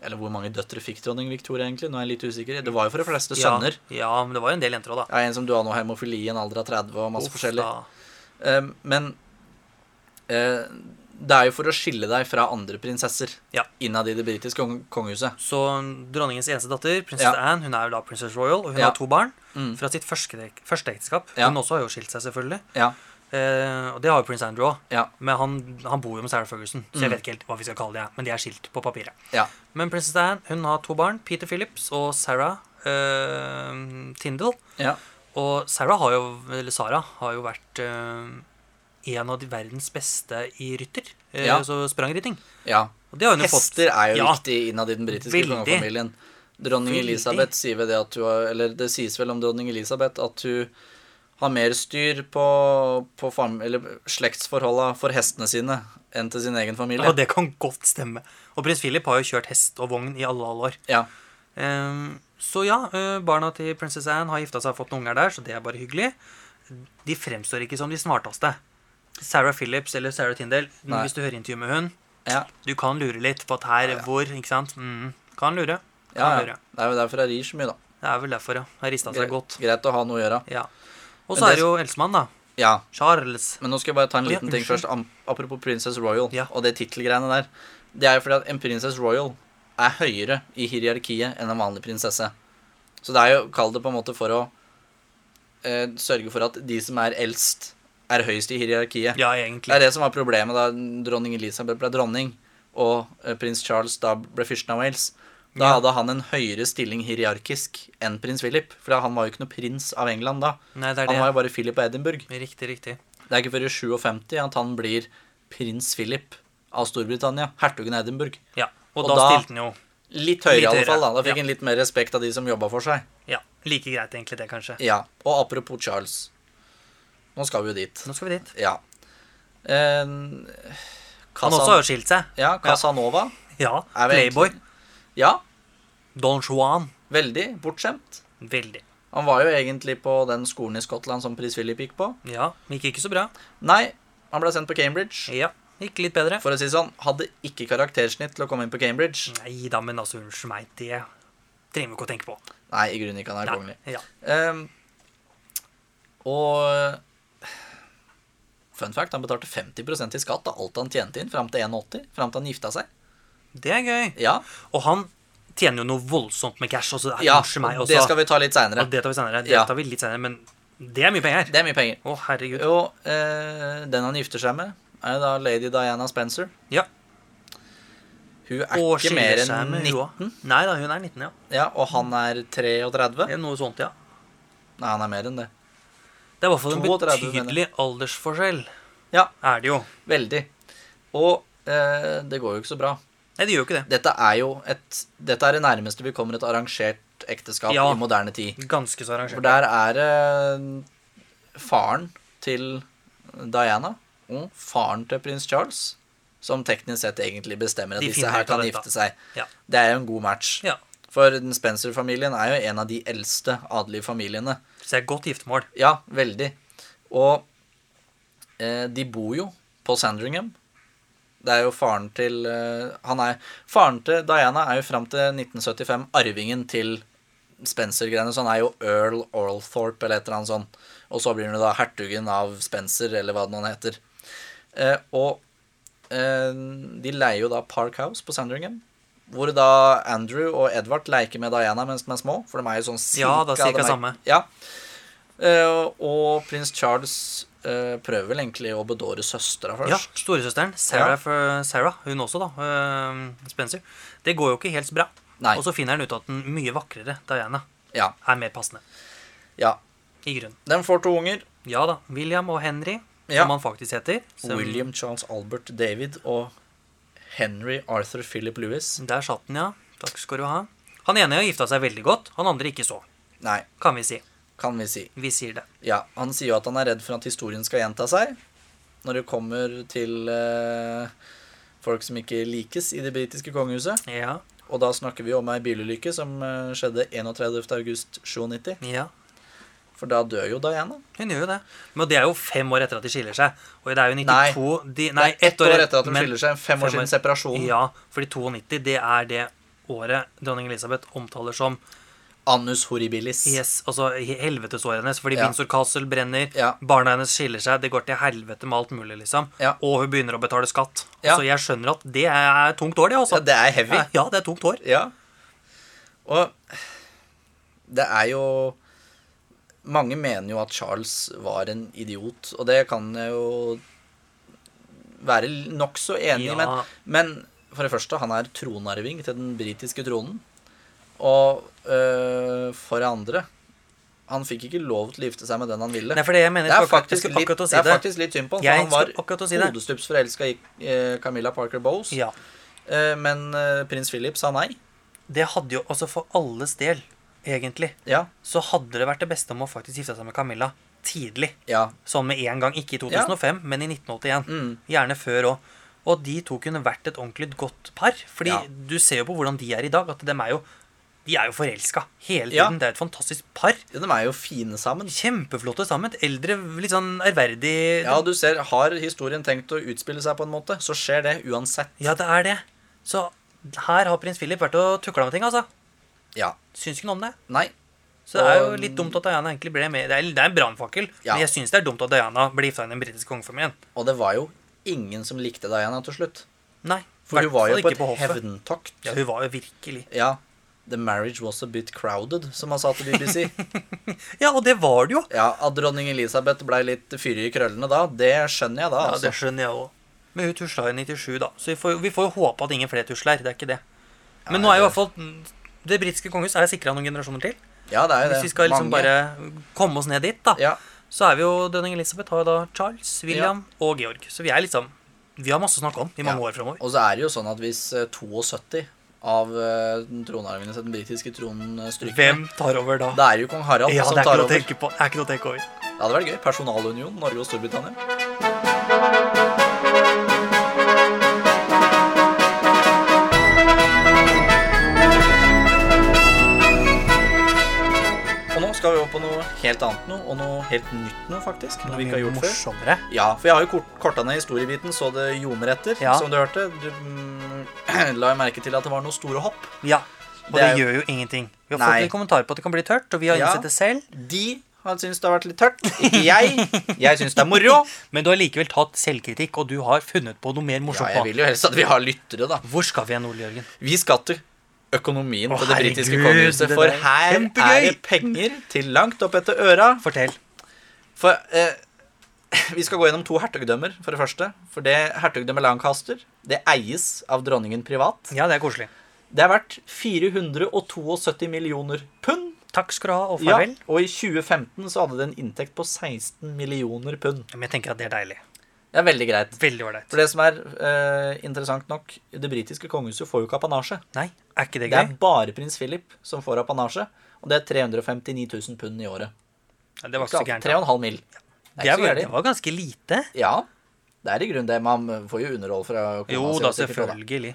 Speaker 1: Eller hvor mange døtre fikk dronning Victoria, egentlig? Nå er jeg litt usikker. Det var jo for de fleste sønner.
Speaker 2: Ja, ja, men det var jo en del jenter òg, da.
Speaker 1: Ja, en som du har nå, hemofili i en alder av 30 og masse
Speaker 2: Uff,
Speaker 1: forskjellig.
Speaker 2: da.
Speaker 1: Eh, men eh, det er jo for å skille deg fra andre prinsesser
Speaker 2: Ja.
Speaker 1: innad i det britiske kong kongehuset.
Speaker 2: Så dronningens eneste datter, prinsesse
Speaker 1: Ja.
Speaker 2: Anne, hun er jo da princess royal, og hun
Speaker 1: Ja.
Speaker 2: har to barn
Speaker 1: Mm.
Speaker 2: fra sitt første, første ekteskap.
Speaker 1: Ja.
Speaker 2: Hun også har jo skilt seg, selvfølgelig.
Speaker 1: Ja,
Speaker 2: Eh, og det har jo prins Andrew òg.
Speaker 1: ja,
Speaker 2: Men han, han bor jo med Sarah Ferguson, så
Speaker 1: Mm.
Speaker 2: jeg vet ikke helt hva vi skal kalle det. her, Men de er skilt på papiret.
Speaker 1: ja.
Speaker 2: Men prinsesse Anne hun har to barn, Peter Phillips og Sarah eh, Tindall.
Speaker 1: ja.
Speaker 2: Og Sarah har jo, eller Sara har jo vært eh, en av de verdens beste i rytter. Eh,
Speaker 1: Ja.
Speaker 2: Så sprangrytting.
Speaker 1: ja.
Speaker 2: Og det har hun jo fått.
Speaker 1: Hester er jo
Speaker 2: Ja.
Speaker 1: viktig innad i den britiske
Speaker 2: Veldig.
Speaker 1: kongefamilien. Dronning
Speaker 2: Veldig.
Speaker 1: Elisabeth sier vel det at hun har Eller det sies vel om dronning Elisabeth at hun har mer styr på, på fam, eller slektsforholda for hestene sine enn til sin egen familie.
Speaker 2: Ja, det kan godt stemme. Og prins Philip har jo kjørt hest og vogn i alle, alle år.
Speaker 1: Ja.
Speaker 2: Ehm, så ja, eh, barna til prinsesse Anne har gifta seg og fått noen unger der, så det er bare hyggelig. De fremstår ikke som de smarteste. Sarah Phillips eller Sarah Tindell,
Speaker 1: Nei.
Speaker 2: hvis du hører intervju med hun,
Speaker 1: Ja.
Speaker 2: du kan lure litt på at her, hvor, ikke sant? Mm, kan lure. Kan
Speaker 1: Ja, ja.
Speaker 2: lure.
Speaker 1: Det er jo derfor jeg rir så mye, da.
Speaker 2: Det er vel derfor, ja. Har rista seg godt.
Speaker 1: Greit å ha noe å gjøre.
Speaker 2: Ja. Og
Speaker 1: Men
Speaker 2: så
Speaker 1: det-
Speaker 2: er det jo eldstemann, da.
Speaker 1: Ja.
Speaker 2: Charles.
Speaker 1: Men nå skal jeg bare ta en
Speaker 2: Å, ja,
Speaker 1: liten ting
Speaker 2: unnskyld.
Speaker 1: først. am- Apropos Princess Royal
Speaker 2: Ja.
Speaker 1: og det tittelgreiene der. Det er jo fordi at en Princess Royal er høyere i hierarkiet enn en vanlig prinsesse. Så det er jo Kall det på en måte for å eh, sørge for at de som er eldst, er høyest i hierarkiet.
Speaker 2: Ja,
Speaker 1: Det er
Speaker 2: egentlig.
Speaker 1: det som var problemet da dronning Elisabeth ble dronning, og eh, prins Charles da ble fyrsten av Wales. Da
Speaker 2: Ja.
Speaker 1: hadde han en høyere stilling hierarkisk enn prins Philip. For han var jo ikke noe prins av England da.
Speaker 2: Nei, det er
Speaker 1: Han var jo
Speaker 2: det.
Speaker 1: bare Philip av Edinburgh.
Speaker 2: Riktig, riktig.
Speaker 1: Det er ikke før i 57 at han blir prins Philip av Storbritannia. Hertugen av Edinburgh.
Speaker 2: Ja. Og,
Speaker 1: Og
Speaker 2: da,
Speaker 1: da-
Speaker 2: stilte han jo
Speaker 1: Litt høyere, i
Speaker 2: Litt
Speaker 1: alle fall. Da
Speaker 2: høyere,
Speaker 1: Da fikk
Speaker 2: ja.
Speaker 1: han litt mer respekt av de som jobba for seg.
Speaker 2: Ja, like greit egentlig det, kanskje.
Speaker 1: Ja, Og apropos Charles. Nå skal vi jo dit.
Speaker 2: Nå skal vi dit.
Speaker 1: Ja. Eh,
Speaker 2: Han
Speaker 1: Casan-
Speaker 2: også har jo skilt seg.
Speaker 1: ja, Casanova.
Speaker 2: Ja,
Speaker 1: Er vi
Speaker 2: Playboy.
Speaker 1: Ja,
Speaker 2: Don Juan.
Speaker 1: veldig bortskjemt.
Speaker 2: Veldig.
Speaker 1: Han var jo egentlig på den skolen i Skottland som prins Philip gikk på.
Speaker 2: Ja, men gikk ikke så bra.
Speaker 1: Nei, han ble sendt på Cambridge.
Speaker 2: Ja, gikk litt bedre.
Speaker 1: For å si det sånn, hadde ikke karaktersnitt til å komme inn på Cambridge.
Speaker 2: Nei da, men altså, unnskyld meg, det trenger vi ikke å tenke på.
Speaker 1: Nei, i grunnen ikke. Han er
Speaker 2: Nei,
Speaker 1: kongelig.
Speaker 2: ja.
Speaker 1: Ehm, og eh, fun fact, han betalte 50 i skatt av alt han tjente inn fram til 81, fram til han gifta seg.
Speaker 2: Det er gøy.
Speaker 1: Ja,
Speaker 2: Og han tjener jo noe voldsomt med cash. Også,
Speaker 1: ja
Speaker 2: unnskyld meg, også.
Speaker 1: det skal vi ta litt seinere.
Speaker 2: Og altså. det tar vi senere. Det
Speaker 1: Ja.
Speaker 2: tar vi litt senere, men det er mye penger.
Speaker 1: Det er mye penger.
Speaker 2: Å, herregud.
Speaker 1: Og eh, den han gifter seg med, er jo da lady Diana Spencer.
Speaker 2: Ja.
Speaker 1: Hun er
Speaker 2: Og
Speaker 1: ikke mer
Speaker 2: skiller seg
Speaker 1: enn
Speaker 2: med
Speaker 1: 19,
Speaker 2: hun òg. Nei da, hun er 19, ja.
Speaker 1: ja, og han er 33.
Speaker 2: Det er Noe sånt, ja.
Speaker 1: Nei, han er mer enn det.
Speaker 2: Det er i hvert fall en
Speaker 1: 32, mener
Speaker 2: betydelig aldersforskjell.
Speaker 1: Ja.
Speaker 2: Er det jo.
Speaker 1: Veldig. Og eh, det går jo ikke så bra.
Speaker 2: Nei, det gjør jo ikke det.
Speaker 1: Dette er jo et Dette er det nærmeste vi kommer et arrangert ekteskap
Speaker 2: Ja.
Speaker 1: i moderne tid.
Speaker 2: Ganske så
Speaker 1: For
Speaker 2: arrangert.
Speaker 1: der er det faren til Diana og faren til prins Charles som teknisk sett egentlig bestemmer at
Speaker 2: De
Speaker 1: disse
Speaker 2: finner
Speaker 1: her
Speaker 2: ut av
Speaker 1: kan
Speaker 2: dette.
Speaker 1: gifte seg.
Speaker 2: Ja.
Speaker 1: Det er jo en god match.
Speaker 2: Ja.
Speaker 1: For den Spencer-familien er jo en av de eldste adelige familiene.
Speaker 2: Så det er et godt giftermål.
Speaker 1: Ja, veldig. Og eh, de bor jo på Sandringham. Det er jo faren til eh, Han er Faren til Diana er jo fram til 1975 arvingen til Spencer-greiene, så han er jo earl Orlthorpe eller et eller annet sånt. Og så blir han jo da hertugen av Spencer, eller hva det nå heter. Eh, og eh, de leier jo da Park House på Sandringham. Hvor da Andrew og Edvard leker med Diana mens de er små, for de er jo sånn cirka,
Speaker 2: Ja, da cirka
Speaker 1: de er-
Speaker 2: samme.
Speaker 1: Ja. Eh, og prins Charles eh, prøver vel egentlig å bedåre søstera
Speaker 2: Ja,
Speaker 1: først.
Speaker 2: Storesøsteren, Sarah, for- Sarah hun også, da. eh, Spencer. Det går jo ikke helt så bra.
Speaker 1: Nei.
Speaker 2: Og så finner han ut at den mye vakrere Diana
Speaker 1: Ja.
Speaker 2: er mer passende.
Speaker 1: ja.
Speaker 2: I grunnen.
Speaker 1: De får to unger.
Speaker 2: Ja da. William og Henry,
Speaker 1: Ja.
Speaker 2: som han faktisk heter. Som,
Speaker 1: William Charles Albert David og Henry Arthur Philip Lewis.
Speaker 2: Der satt den, ja. Takk skal du ha. Han ene har gifta seg veldig godt, han andre ikke så.
Speaker 1: Nei,
Speaker 2: Kan vi si.
Speaker 1: kan vi si.
Speaker 2: Vi sier det.
Speaker 1: Ja, Han sier jo at han er redd for at historien skal gjenta seg når det kommer til eh, folk som ikke likes i det britiske kongehuset.
Speaker 2: Ja,
Speaker 1: Og da snakker vi om ei bilulykke som eh, skjedde 31.8.97.
Speaker 2: ja.
Speaker 1: For da dør jo Diana.
Speaker 2: Hun gjør jo det. Men det er jo fem år etter at de skiller seg. Og det er jo 92
Speaker 1: Nei.
Speaker 2: de,
Speaker 1: Nei,
Speaker 2: ett
Speaker 1: ett år etter at de
Speaker 2: men-
Speaker 1: skiller seg. Fem år siden separasjonen.
Speaker 2: Ja, fordi 92 det er det året dronning Elisabeth omtaler som
Speaker 1: Annus horribilis.
Speaker 2: yes, altså he- helvetesåret hennes. Fordi
Speaker 1: Ja.
Speaker 2: Windsor Castle brenner,
Speaker 1: Ja.
Speaker 2: barna hennes skiller seg, det går til helvete med alt mulig, liksom.
Speaker 1: Ja.
Speaker 2: Og hun begynner å betale skatt.
Speaker 1: Ja.
Speaker 2: Så jeg skjønner at det er tungt år, det,
Speaker 1: Ja,
Speaker 2: altså.
Speaker 1: det er heavy.
Speaker 2: Ja, det er tungt år.
Speaker 1: Ja. Og det er jo Mange mener jo at Charles var en idiot, og det kan jeg jo være nokså enig i,
Speaker 2: Ja.
Speaker 1: men, men for det første, han er tronarving til den britiske tronen. Og øh, for det andre Han fikk ikke lov til å gifte seg med den han ville.
Speaker 2: Nei, for det jeg mener,
Speaker 1: det er
Speaker 2: jeg skal
Speaker 1: faktisk,
Speaker 2: akkurat- jeg skal
Speaker 1: litt,
Speaker 2: akkurat å si
Speaker 1: det er
Speaker 2: det.
Speaker 1: faktisk litt synd på
Speaker 2: Jeg
Speaker 1: han,
Speaker 2: skal
Speaker 1: for han
Speaker 2: akkurat å
Speaker 1: var
Speaker 2: si det.
Speaker 1: hodestups forelska i eh, Camilla Parker Bowes.
Speaker 2: Ja.
Speaker 1: Eh, men eh, prins Philip sa nei.
Speaker 2: Det hadde jo altså for alles del, egentlig,
Speaker 1: Ja,
Speaker 2: så hadde det vært det beste om å faktisk gifte seg med Camilla tidlig.
Speaker 1: ja,
Speaker 2: Sånn med en gang, ikke i 2005, men i 1981.
Speaker 1: Mm.
Speaker 2: Gjerne før òg. Og de to kunne vært et ordentlig godt par. Fordi
Speaker 1: Ja.
Speaker 2: du ser jo på hvordan de er i dag, at dem er jo, de er jo forelska hele
Speaker 1: Ja.
Speaker 2: tiden. Det er et fantastisk par.
Speaker 1: Ja, de er jo fine sammen.
Speaker 2: Kjempeflotte sammen. Et eldre, litt sånn ærverdig
Speaker 1: Ja, du ser, har historien tenkt å utspille seg på en måte, så skjer det uansett.
Speaker 2: Ja, det er det. Så her har prins Philip vært og tukla med ting, altså.
Speaker 1: Ja.
Speaker 2: Syns ikke noe om det.
Speaker 1: Nei.
Speaker 2: Så det er jo
Speaker 1: Og-
Speaker 2: litt dumt at Diana egentlig ble med. Det er, det er en brannfakkel,
Speaker 1: Ja.
Speaker 2: men jeg syns det er dumt at Diana ble gifta inn i den britiske kongefamilien.
Speaker 1: Og det var jo ingen som likte Diana til slutt.
Speaker 2: Nei.
Speaker 1: For hun var jo
Speaker 2: hvertfall
Speaker 1: altså, på
Speaker 2: ikke
Speaker 1: et
Speaker 2: hoffet.
Speaker 1: hevntokt.
Speaker 2: Ja, hun var jo virkelig
Speaker 1: Ja. The marriage was a bit crowded, som han sa til BBC.
Speaker 2: Ja, og det var det jo.
Speaker 1: ja, At dronning Elisabeth blei litt fyrig i krøllene da, det skjønner jeg da.
Speaker 2: Ja,
Speaker 1: altså.
Speaker 2: det skjønner jeg òg. Men hun tusla i 97, da. Så vi får, vi får jo håpe at ingen flere tusler. Det er ikke det. Men nå er jo i hvert fall det britiske kongehuset er sikra noen generasjoner til.
Speaker 1: ja, det er jo det.
Speaker 2: Hvis vi skal liksom
Speaker 1: Mange.
Speaker 2: bare komme oss ned dit, da,
Speaker 1: Ja,
Speaker 2: så er vi jo dronning Elisabeth har jo da Charles, William og Georg. Så vi er liksom Vi har masse å snakke om i mange
Speaker 1: Ja.
Speaker 2: år framover.
Speaker 1: Og så er det jo sånn at hvis eh, 72 av eh, tronarvingene til den britiske tronen eh, stryker
Speaker 2: Hvem tar over da?
Speaker 1: Da er det jo kong Harald
Speaker 2: Ja,
Speaker 1: som
Speaker 2: det er ikke
Speaker 1: tar
Speaker 2: noe å
Speaker 1: over.
Speaker 2: tenke på. Det er ikke noe å tenke over.
Speaker 1: Det hadde vært gøy. Personalunion, Norge og Storbritannia. Og nå skal vi over på noe helt annet noe, og noe helt nytt noe, faktisk. Noe vi ikke har gjort før.
Speaker 2: morsommere.
Speaker 1: Ja, for jeg har jo kort, korta ned historiebiten så det ljomer etter,
Speaker 2: Ja.
Speaker 1: som du hørte. Du mm, la jo merke til at det var noen store hopp.
Speaker 2: Ja. Og
Speaker 1: Det
Speaker 2: det,
Speaker 1: er jo-
Speaker 2: gjør jo ingenting. Vi har
Speaker 1: Nei.
Speaker 2: fått litt kommentarer på at det kan bli tørt, og vi har
Speaker 1: Ja.
Speaker 2: innsett det selv.
Speaker 1: De har syntes det har vært litt tørt. Ikke jeg. Jeg syns det er moro.
Speaker 2: Men du har likevel tatt selvkritikk, og du har funnet på noe
Speaker 1: Ja,
Speaker 2: mer morsomt.
Speaker 1: jeg
Speaker 2: på.
Speaker 1: vil jo helst at vi har lyttere, da.
Speaker 2: Hvor skal vi hen, Ole Jørgen?
Speaker 1: Vi skal til økonomien
Speaker 2: Å,
Speaker 1: på det britiske
Speaker 2: herregud,
Speaker 1: kongehuset,
Speaker 2: det
Speaker 1: for
Speaker 2: der er
Speaker 1: her er
Speaker 2: kjempegøy!
Speaker 1: det penger til langt opp etter øra.
Speaker 2: Fortell.
Speaker 1: For eh, vi skal gå gjennom to hertugdømmer, for det første. For det hertugdømmet Lancaster, det eies av dronningen privat.
Speaker 2: Ja, det er koselig.
Speaker 1: Det er verdt 472 millioner pund.
Speaker 2: Takk skal du ha, og
Speaker 1: Ja,
Speaker 2: farvel.
Speaker 1: og i 2015 så hadde det en inntekt på 16 millioner pund.
Speaker 2: Men jeg tenker at det er deilig.
Speaker 1: Det er veldig greit.
Speaker 2: Veldig ålreit.
Speaker 1: For det som er eh, interessant nok, det britiske kongehuset får jo ikke apanasje.
Speaker 2: Nei, er ikke det
Speaker 1: Det
Speaker 2: gøy?
Speaker 1: er bare prins Philip som får apanasje, og det er 359 000 pund i året.
Speaker 2: Ja, det var ikke så gærent.
Speaker 1: 3,5 mil.
Speaker 2: da.
Speaker 1: Det er ikke så
Speaker 2: var, det
Speaker 1: gærent.
Speaker 2: var ganske lite.
Speaker 1: Ja, det er i grunnen det. Man får jo underhold fra kona
Speaker 2: Jo
Speaker 1: si,
Speaker 2: da,
Speaker 1: og sikkert også.
Speaker 2: selvfølgelig.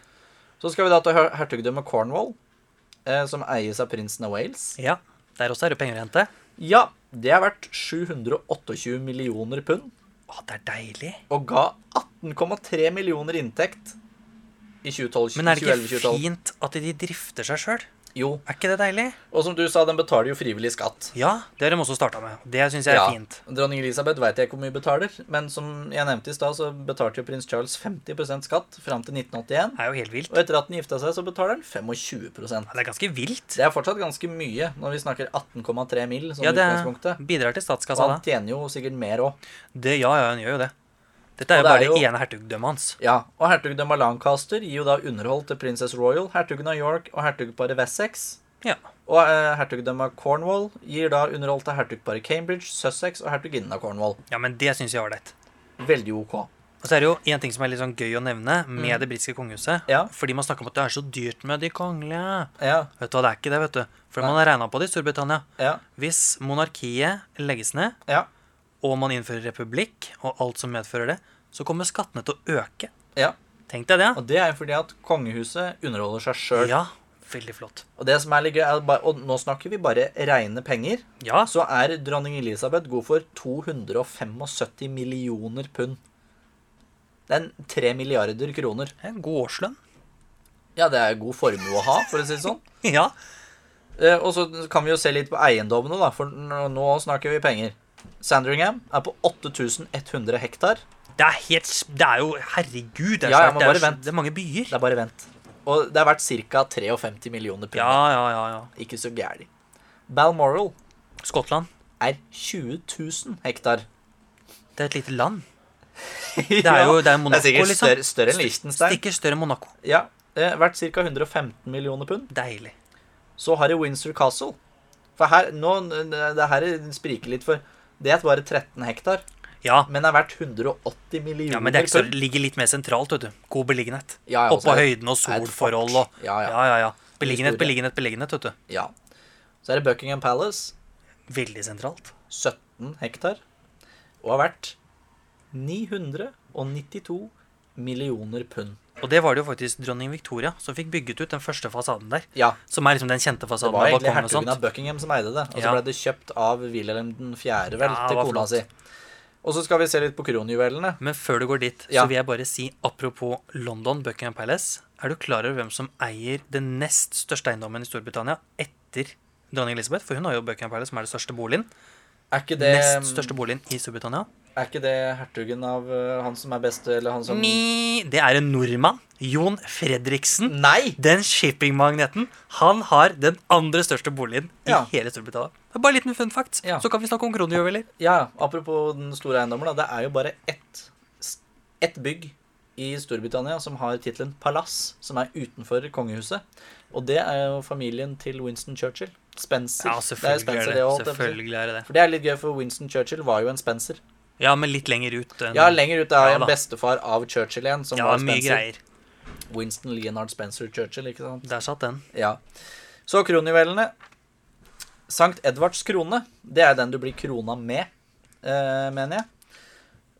Speaker 1: Så skal vi da til her- hertugdømmet Cornwall, eh, som eies av prinsen av Wales.
Speaker 2: Ja, Der også er det penger å hente.
Speaker 1: Ja, det er verdt 728 millioner pund,
Speaker 2: Å, det er deilig.
Speaker 1: og ga 18,3 millioner inntekt i 2012.
Speaker 2: Men er det ikke
Speaker 1: 2011-2012.
Speaker 2: fint at de drifter seg sjøl?
Speaker 1: Jo,
Speaker 2: Er ikke det deilig?
Speaker 1: og som du sa, den betaler jo frivillig skatt.
Speaker 2: Ja, det har de også starta med. Det syns jeg er fint.
Speaker 1: Dronning Elisabeth vet jeg ikke hvor mye betaler, men som jeg nevnte i stad, så betalte jo prins Charles 50 skatt fram til 1981.
Speaker 2: Det er jo helt vilt.
Speaker 1: Og etter at han gifta seg, så betaler han 25
Speaker 2: Ja, det er ganske vilt.
Speaker 1: Det er fortsatt ganske mye når vi snakker 18,3 mill. som
Speaker 2: Ja, det
Speaker 1: utgangspunktet.
Speaker 2: bidrar til
Speaker 1: Og
Speaker 2: statskassa,
Speaker 1: han
Speaker 2: da.
Speaker 1: tjener jo sikkert mer òg.
Speaker 2: Det, ja, ja, han gjør jo det. Dette er
Speaker 1: Og
Speaker 2: jo
Speaker 1: det er
Speaker 2: bare det
Speaker 1: jo-
Speaker 2: ene hertugdømmet hans.
Speaker 1: Ja, og hertugdømmet Lancaster gir jo da underhold til Princess Royal, hertugen av York og hertugparet Wessex.
Speaker 2: Ja.
Speaker 1: Og eh, hertugdømmet Cornwall gir da underhold til hertugparet Cambridge, Sussex og hertuginnen av Cornwall.
Speaker 2: ja, men det syns jeg er ålreit.
Speaker 1: Veldig OK.
Speaker 2: Og så er det jo en ting som er litt sånn gøy å nevne
Speaker 1: Mm.
Speaker 2: med det britiske kongehuset.
Speaker 1: Ja.
Speaker 2: Fordi man snakker om at det er så dyrt med de kongelige.
Speaker 1: Ja,
Speaker 2: Vet du hva, det er ikke det, vet du. For man har regna på det i Storbritannia.
Speaker 1: ja,
Speaker 2: Hvis monarkiet legges ned,
Speaker 1: ja.
Speaker 2: og man innfører republikk, og alt som medfører det, så kommer skattene til å øke.
Speaker 1: ja.
Speaker 2: Tenk deg det.
Speaker 1: Og det er jo fordi at kongehuset underholder seg
Speaker 2: ja.
Speaker 1: sjøl.
Speaker 2: Ja, veldig flott.
Speaker 1: Og det som er litt gøy, er bare, og nå snakker vi bare reine penger,
Speaker 2: Ja,
Speaker 1: så er dronning Elisabeth god for 275 millioner pund. Det er en tre milliarder kroner.
Speaker 2: det er en god årslønn.
Speaker 1: Ja, det er god formue å ha, for å si det sånn.
Speaker 2: Ja.
Speaker 1: Eh, Og så kan vi jo se litt på eiendommene, da, for nå nå snakker vi penger. Sandringham er på 8100 hektar.
Speaker 2: Det er helt s- Det er jo Herregud, det er,
Speaker 1: Ja, ja,
Speaker 2: svært,
Speaker 1: men
Speaker 2: det, er,
Speaker 1: bare
Speaker 2: s-
Speaker 1: vent.
Speaker 2: det er mange byer.
Speaker 1: Det er bare vent. Og det er verdt ca. 53 millioner pund.
Speaker 2: Ja, ja, ja. ja.
Speaker 1: Ikke så gæli. Balmoral
Speaker 2: Skottland.
Speaker 1: er 20 000 hektar.
Speaker 2: Det er et lite land. Det er jo det er Monaco,
Speaker 1: sikkert
Speaker 2: liksom.
Speaker 1: større, større enn Liechtenstein.
Speaker 2: Stikker større enn Monaco.
Speaker 1: Ja, eh, Verdt ca. 115 millioner pund.
Speaker 2: Deilig.
Speaker 1: Så har jeg Windsor Castle. For her, nå, det her spriker litt, for det er bare 13 hektar,
Speaker 2: Ja,
Speaker 1: men er verdt 180 millioner
Speaker 2: ja men det er ikke så,
Speaker 1: pund.
Speaker 2: ligger litt mer sentralt, vet du. God beliggenhet.
Speaker 1: Ja, ja, og
Speaker 2: Oppå
Speaker 1: så er det-
Speaker 2: høyden og
Speaker 1: er det et
Speaker 2: solforhold
Speaker 1: fort.
Speaker 2: og
Speaker 1: Ja, ja.
Speaker 2: ja, ja. Beliggenhet,
Speaker 1: Historie.
Speaker 2: beliggenhet, beliggenhet, vet du.
Speaker 1: Ja. Så er det Buckingham Palace,
Speaker 2: Veldig sentralt.
Speaker 1: 17 hektar, og har vært 992 millioner pund.
Speaker 2: Og det var det jo faktisk dronning Victoria som fikk bygget ut den første fasaden der.
Speaker 1: Ja,
Speaker 2: Som er liksom den kjente
Speaker 1: det
Speaker 2: fasaden
Speaker 1: var
Speaker 2: med
Speaker 1: egentlig
Speaker 2: balkongen og
Speaker 1: hertugen av
Speaker 2: sånt.
Speaker 1: Buckingham som eide det, og så
Speaker 2: sånn. Ja.
Speaker 1: ble det kjøpt av Wilhelm 4., vel,
Speaker 2: Ja, det
Speaker 1: til
Speaker 2: var
Speaker 1: kona
Speaker 2: flott.
Speaker 1: si. Og så skal vi se litt på kronjuvelene.
Speaker 2: Men før du går dit,
Speaker 1: Ja.
Speaker 2: så vil jeg bare si apropos London, Buckingham Palace. Er du klar over hvem som eier den nest største eiendommen i Storbritannia etter dronning Elizabeth? For hun har jo Buckingham Palace, som er den største boligen.
Speaker 1: Er ikke det,
Speaker 2: Nest største boligen i Storbritannia.
Speaker 1: er ikke det hertugen av eh, han som er best, eller han som
Speaker 2: Ni, det er en nordmann. Jon Fredriksen.
Speaker 1: Nei!
Speaker 2: Den shippingmagneten. Han har den andre største boligen i
Speaker 1: Ja.
Speaker 2: hele Storbritannia. Det er bare en liten fun fact.
Speaker 1: Ja.
Speaker 2: Så kan vi snakke om kronjuveler.
Speaker 1: Ja, apropos den store eiendommen, da. Det er jo bare ett, ett bygg i Storbritannia som har tittelen palass, som er utenfor kongehuset. Og det er jo familien til Winston Churchill. Spencer.
Speaker 2: Ja, selvfølgelig
Speaker 1: Spencer,
Speaker 2: er
Speaker 1: det
Speaker 2: det.
Speaker 1: også,
Speaker 2: Selvfølgelig er det det.
Speaker 1: For det er litt gøy, for Winston Churchill var jo en Spencer.
Speaker 2: Ja, men litt lenger ut. enn-
Speaker 1: Ja, lenger ut er
Speaker 2: Ja
Speaker 1: en
Speaker 2: da.
Speaker 1: bestefar av Churchill igjen, som
Speaker 2: Ja,
Speaker 1: var
Speaker 2: mye
Speaker 1: Spencer.
Speaker 2: greier.
Speaker 1: Winston Leonard Spencer Churchill, ikke sant?
Speaker 2: Der satt den.
Speaker 1: Ja. Så kronjuvelene. Sankt Edvards krone, det er den du blir krona med, eh, mener jeg.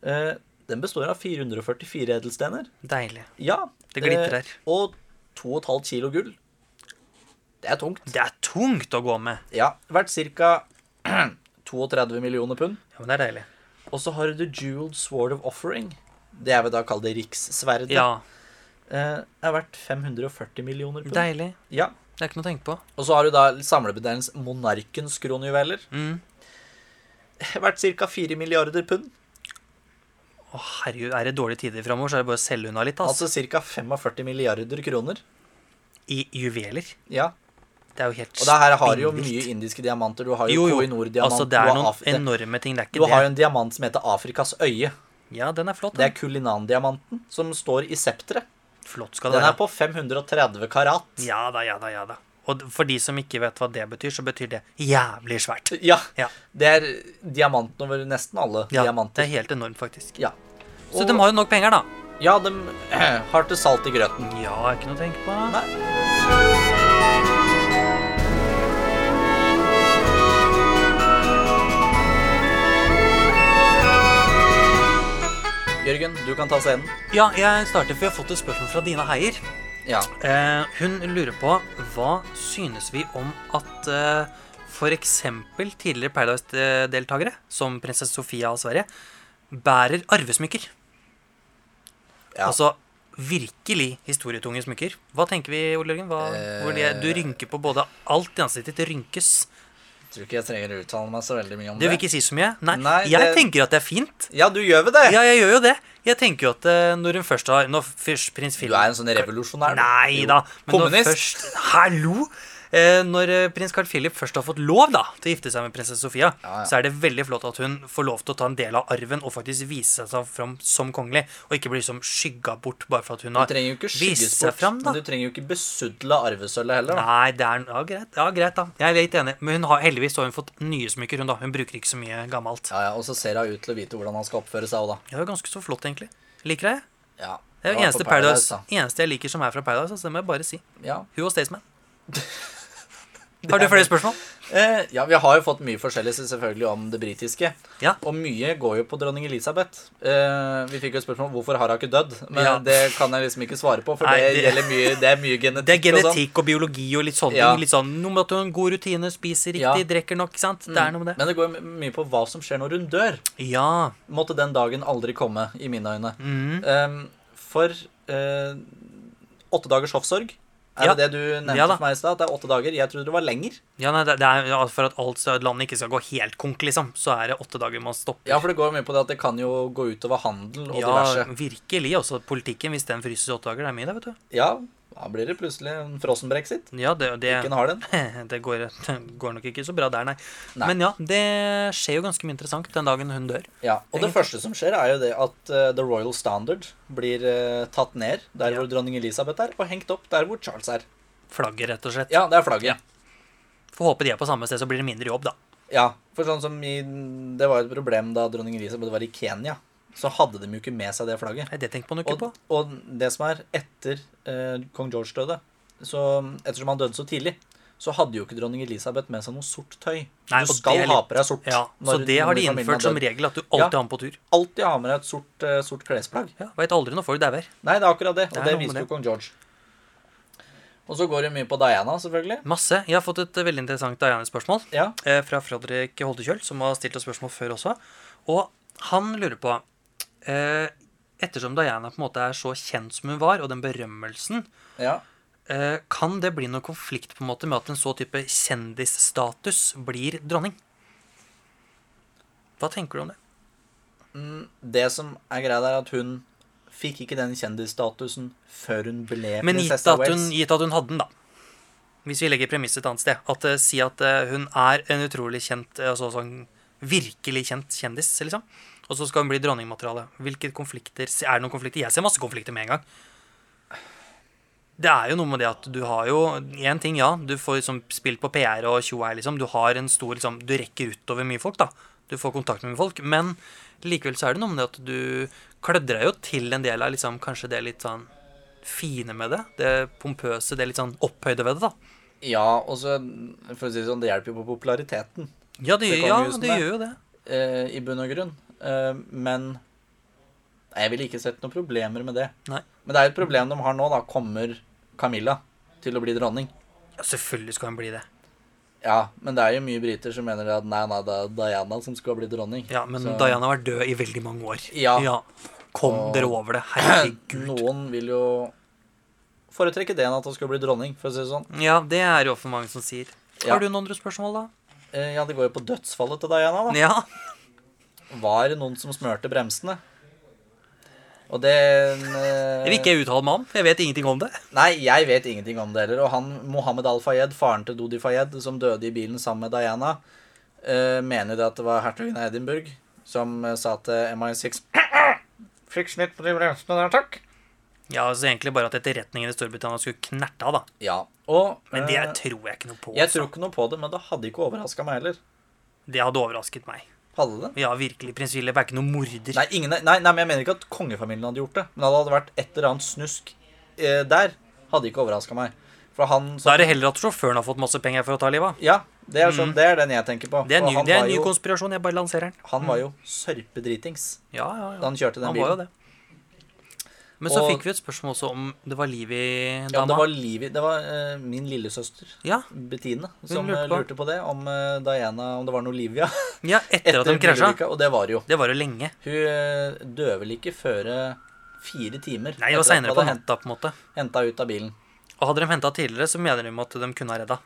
Speaker 1: Eh, den består av 444 edelstener.
Speaker 2: Deilig.
Speaker 1: Ja.
Speaker 2: Det glitrer her.
Speaker 1: og 2,5 kilo gull. Det er tungt.
Speaker 2: Det er tungt å gå med.
Speaker 1: Ja. Verdt ca. 32 millioner pund.
Speaker 2: Ja, men det er deilig.
Speaker 1: Og så har du The Jeweled Sword of Offering. Det jeg vil da kalle det rikssverdet.
Speaker 2: Ja,
Speaker 1: Eh, er verdt 540 millioner pund.
Speaker 2: deilig.
Speaker 1: Ja.
Speaker 2: Det er ikke noe å tenke på.
Speaker 1: Og så har du da samlebetegnelsen monarkens kronjuveler.
Speaker 2: Mm.
Speaker 1: Verdt ca. 4 milliarder pund.
Speaker 2: Å, herregud, er det dårlige tider framover, så er det bare å selge unna litt, ass.
Speaker 1: Altså ca. 45 milliarder kroner.
Speaker 2: I juveler.
Speaker 1: Ja.
Speaker 2: Det er jo helt
Speaker 1: Og det her har du jo
Speaker 2: spinnvilt.
Speaker 1: mye indiske diamanter. Du har jo,
Speaker 2: Jo, jo.
Speaker 1: Kohinor-diamant.
Speaker 2: Altså, det er
Speaker 1: du har,
Speaker 2: noen
Speaker 1: Af- det-
Speaker 2: enorme ting. Det er
Speaker 1: du
Speaker 2: ikke
Speaker 1: har
Speaker 2: det.
Speaker 1: jo en diamant som heter Afrikas øye.
Speaker 2: Ja, den er flott.
Speaker 1: Det er
Speaker 2: Den.
Speaker 1: kulinandiamanten som står i septeret.
Speaker 2: Flott skal det
Speaker 1: Den er
Speaker 2: være.
Speaker 1: på 530 karat.
Speaker 2: Ja da, ja da, ja da. Og d- for de som ikke vet hva det betyr, så betyr det jævlig svært.
Speaker 1: Ja.
Speaker 2: Ja.
Speaker 1: Det er diamanten over nesten alle
Speaker 2: Ja, det
Speaker 1: diamanter.
Speaker 2: er helt enormt, faktisk.
Speaker 1: Ja.
Speaker 2: Så de har jo nok penger, da.
Speaker 1: Ja, de har til salt i grøten.
Speaker 2: Ja, ikke noe å tenke på.
Speaker 1: Nei. Jørgen, du kan ta scenen.
Speaker 2: Ja, jeg starter, for jeg har fått et spørsmål fra Dina Heier.
Speaker 1: Ja.
Speaker 2: Eh, hun lurer på hva synes vi om at eh, f.eks. tidligere Paradise-deltakere, som prinsesse Sofia av Sverige, bærer arvesmykker.
Speaker 1: Ja.
Speaker 2: Altså virkelig historietunge smykker. Hva tenker vi, Ole Jørgen? Hva,
Speaker 1: Eh.
Speaker 2: hvor de, du rynker på både alt i ansiktet ditt rynkes.
Speaker 1: Tror ikke jeg trenger å uttale meg så veldig mye om
Speaker 2: Det vil ikke si så mye. Nei,
Speaker 1: Nei,
Speaker 2: jeg
Speaker 1: det-
Speaker 2: tenker at det er fint.
Speaker 1: Ja, du gjør vel det?
Speaker 2: Ja, jeg gjør jo det. Jeg tenker jo at eh, når hun først har Når først prins
Speaker 1: Du
Speaker 2: Philip
Speaker 1: er en sånn revolusjonær. du.
Speaker 2: Nei
Speaker 1: Jo.
Speaker 2: da. Men
Speaker 1: Kommunist.
Speaker 2: når først Hallo! Eh, når eh, prins Carl Philip først har fått lov da, til å gifte seg med prinsesse Sofia,
Speaker 1: Ja, ja.
Speaker 2: så er det veldig flott at hun får lov til å ta en del av arven og faktisk vise seg fram som kongelig, og ikke bli liksom skygga bort bare for at hun
Speaker 1: Du
Speaker 2: har
Speaker 1: trenger jo ikke skygges
Speaker 2: vist seg
Speaker 1: bort.
Speaker 2: fram. da.
Speaker 1: men du trenger jo ikke besudle arvesølvet heller. Da.
Speaker 2: Nei, det er ja, greit, ja, greit, da. Jeg er litt enig. Men hun har, heldigvis har hun fått nye smykker, hun da. Hun bruker ikke så mye gammelt.
Speaker 1: Ja, ja, Og så ser hun ut til å vite hvordan han skal oppføre seg òg, da.
Speaker 2: Det er jo ganske så flott, egentlig. Liker jeg.
Speaker 1: Ja.
Speaker 2: Det er jo
Speaker 1: Ja, på
Speaker 2: eneste
Speaker 1: Paradise,
Speaker 2: Paradise, eneste jeg liker som er fra Paradise, altså, det må jeg bare si.
Speaker 1: da. Ja.
Speaker 2: Hun og Staysman. Har du flere spørsmål?
Speaker 1: Eh, ja, vi har jo fått mye forskjellig selvfølgelig om det britiske.
Speaker 2: Ja.
Speaker 1: Og mye går jo på dronning Elisabeth. Eh, vi fikk jo et spørsmål om hvorfor har hun ikke dødd. Men
Speaker 2: Ja.
Speaker 1: det kan jeg liksom ikke svare på, for
Speaker 2: Nei,
Speaker 1: det,
Speaker 2: det-
Speaker 1: gjelder mye, det er mye genetikk.
Speaker 2: Det er
Speaker 1: og sånn.
Speaker 2: genetikk og biologi og litt sånne
Speaker 1: Ja.
Speaker 2: ting. Litt sånn, noe med at du har en god rutine, spiser riktig,
Speaker 1: Ja. Mm.
Speaker 2: drikker nok. ikke sant? Det er noe med det.
Speaker 1: Men det går my- mye på hva som skjer når hun dør.
Speaker 2: Ja. mm.
Speaker 1: Måtte den dagen aldri komme, i mine øyne. Eh, for eh, åtte dagers hoffsorg er
Speaker 2: Ja.
Speaker 1: det det du nevnte
Speaker 2: Ja da.
Speaker 1: for meg i stad? At det er åtte dager? Jeg trodde det var lenger.
Speaker 2: ja nei, det, det er ja, For at alt så- landet ikke skal gå helt konk, liksom, så er det åtte dager man stopper.
Speaker 1: Ja, for det går mye på det at det kan jo gå utover handel og diverse.
Speaker 2: virkelig. Også politikken, hvis den fryses i åtte dager. Det er mye, det, vet du.
Speaker 1: Ja, da blir det plutselig en frossen brexit.
Speaker 2: Ja, det, det,
Speaker 1: Ikke en har den.
Speaker 2: det går, det går nok ikke så bra der, nei.
Speaker 1: Nei.
Speaker 2: Men ja, det skjer jo ganske mye interessant den dagen hun dør.
Speaker 1: Ja, Og det første som skjer, er jo det at eh, The Royal Standard blir eh, tatt ned der
Speaker 2: Ja.
Speaker 1: hvor dronning Elisabeth er, og hengt opp der hvor Charles er.
Speaker 2: Flagget, rett og slett.
Speaker 1: Ja, det er flagget.
Speaker 2: Ja. Får håpe de er på samme sted, så blir det mindre jobb, da.
Speaker 1: Ja, for sånn som i, Det var jo et problem da dronning Elisabeth var i Kenya. Så hadde de jo ikke med seg det flagget.
Speaker 2: Nei, Det tenker man jo ikke
Speaker 1: Og,
Speaker 2: på.
Speaker 1: og det som er etter eh, kong George døde Så Ettersom han døde så tidlig, så hadde jo ikke dronning Elisabeth med seg noe sort tøy.
Speaker 2: Nei, og
Speaker 1: du skal
Speaker 2: det er
Speaker 1: ha
Speaker 2: litt-
Speaker 1: på deg sort.
Speaker 2: Ja, Så
Speaker 1: når-
Speaker 2: det har
Speaker 1: når
Speaker 2: de
Speaker 1: familien
Speaker 2: innført
Speaker 1: er
Speaker 2: som
Speaker 1: død.
Speaker 2: regel, at du alltid
Speaker 1: Ja.
Speaker 2: har den på tur.
Speaker 1: Alltid ha med deg et sort, eh, sort klesplagg.
Speaker 2: Ja, Veit aldri når folk dauer.
Speaker 1: Nei, det er akkurat det, og
Speaker 2: Det
Speaker 1: det,
Speaker 2: er noe med
Speaker 1: viser
Speaker 2: det.
Speaker 1: jo kong George. Og så går det mye på Diana, selvfølgelig.
Speaker 2: Masse. Jeg har fått et eh, veldig interessant Diane-spørsmål
Speaker 1: Ja,
Speaker 2: eh, fra Fredrik Holdekjøl, som har stilt oss spørsmål før også. Og han lurer på eh, Ettersom Diana på en måte er så kjent som hun var, og den berømmelsen,
Speaker 1: ja.
Speaker 2: eh, kan det bli noen konflikt på en måte med at en så type kjendisstatus blir dronning? Hva tenker du om det?
Speaker 1: Mm, Det som er greia, er at hun fikk ikke den kjendisstatusen før hun ble
Speaker 2: Men gitt
Speaker 1: prinsesse av
Speaker 2: at,
Speaker 1: Wales.
Speaker 2: hun, gitt at hun hadde den, da. Hvis vi legger premisset et annet sted. At eh, Si at eh, hun er en utrolig kjent eh, altså sånn virkelig kjent kjendis, liksom. Og så skal hun bli dronningmateriale. Hvilke konflikter Er det noen konflikter? Jeg ser masse konflikter med en gang. Det er jo noe med det at du har jo Én ting, ja. Du får liksom spilt på PR og tjo og hei, liksom. Du har en stor liksom Du rekker utover mye folk, da. Du får kontakt med mye folk. Men likevel så er det noe med det at du klødder deg jo til en del av liksom kanskje det litt sånn fine med det. Det pompøse, det litt sånn opphøyde ved det, da.
Speaker 1: Ja, og så, for å si det sånn, det hjelper jo på populariteten
Speaker 2: Ja, det,
Speaker 1: Det
Speaker 2: gjør-
Speaker 1: kan
Speaker 2: ja,
Speaker 1: jo
Speaker 2: det
Speaker 1: sånn
Speaker 2: gjør jo det.
Speaker 1: eh, i bunn og grunn. Eh, men Nei, jeg ville ikke sett noen problemer med det.
Speaker 2: Nei.
Speaker 1: Men det er jo et problem de har nå, da. Kommer Camilla til å bli dronning?
Speaker 2: Ja, selvfølgelig skal hun bli det.
Speaker 1: Ja, men det er jo mye briter som mener at nei, nei, det er Diana som skal bli dronning.
Speaker 2: Ja, Men
Speaker 1: Så-
Speaker 2: Diana har vært død i veldig mange år.
Speaker 1: Ja.
Speaker 2: Kom
Speaker 1: Og-
Speaker 2: dere over det. Herregud.
Speaker 1: Noen vil jo foretrekke det enn at hun skal bli dronning, for å si det sånn.
Speaker 2: Ja, det er jo for mange som sier.
Speaker 1: Ja.
Speaker 2: Har du noen andre spørsmål, da?
Speaker 1: Eh, Ja, det går jo på dødsfallet til Diana, da.
Speaker 2: Ja.
Speaker 1: Var det noen som smørte bremsene? Og det eh,
Speaker 2: Det vil ikke jeg uttale meg om. for Jeg vet ingenting om det.
Speaker 1: Nei, jeg vet ingenting om det heller. Og han Mohammed Al-Fayed, faren til Dodi Fayed, som døde i bilen sammen med Diana, eh, mener det at det var hertugen av Edinburgh som eh, sa til MI6 Fikk snitt på de bremsene der, takk.
Speaker 2: Ja, altså Egentlig bare at etterretningen i Storbritannia skulle knerte av, da.
Speaker 1: Ja, og
Speaker 2: Men det
Speaker 1: eh,
Speaker 2: tror jeg ikke noe på.
Speaker 1: Jeg tror
Speaker 2: altså.
Speaker 1: ikke noe på det, men det hadde ikke overraska meg heller.
Speaker 2: Det hadde overrasket meg.
Speaker 1: Hadde det?
Speaker 2: Ja, virkelig, prins Philip er ikke noen morder.
Speaker 1: Nei, ingen, nei, nei, men jeg mener ikke at kongefamilien hadde gjort det. Men at det hadde vært et eller annet snusk eh, der, hadde ikke overraska meg. For han
Speaker 2: Da
Speaker 1: som
Speaker 2: er det heller at sjåføren har fått masse penger for å ta livet av.
Speaker 1: Ja, det er, sånn, det er den jeg tenker på.
Speaker 2: Mm. Det er en
Speaker 1: For
Speaker 2: ny,
Speaker 1: han,
Speaker 2: det er
Speaker 1: var
Speaker 2: en ny Mm.
Speaker 1: jo,
Speaker 2: konspirasjon. Jeg bare lanserer den.
Speaker 1: han var jo sørpedritings
Speaker 2: Ja, ja, ja.
Speaker 1: da han kjørte den
Speaker 2: Han var jo
Speaker 1: bilen.
Speaker 2: det. Men så
Speaker 1: Og-
Speaker 2: fikk vi et spørsmål også om det var liv i
Speaker 1: Ja, det
Speaker 2: dama.
Speaker 1: var, Livi, det var eh, min lillesøster
Speaker 2: Ja,
Speaker 1: Bettine som
Speaker 2: lurte
Speaker 1: eh,
Speaker 2: på.
Speaker 1: lurte på det, om eh, Diana Om det var noe Livia
Speaker 2: ja, etter at de krasja.
Speaker 1: bilulykka, og det var det jo.
Speaker 2: Det var jo lenge.
Speaker 1: Hun eh, dør vel ikke før eh, fire timer
Speaker 2: Nei, det var seinere på natta, på en måte.
Speaker 1: henta ut av bilen.
Speaker 2: Og hadde de henta tidligere, så mener de at de kunne ha redda.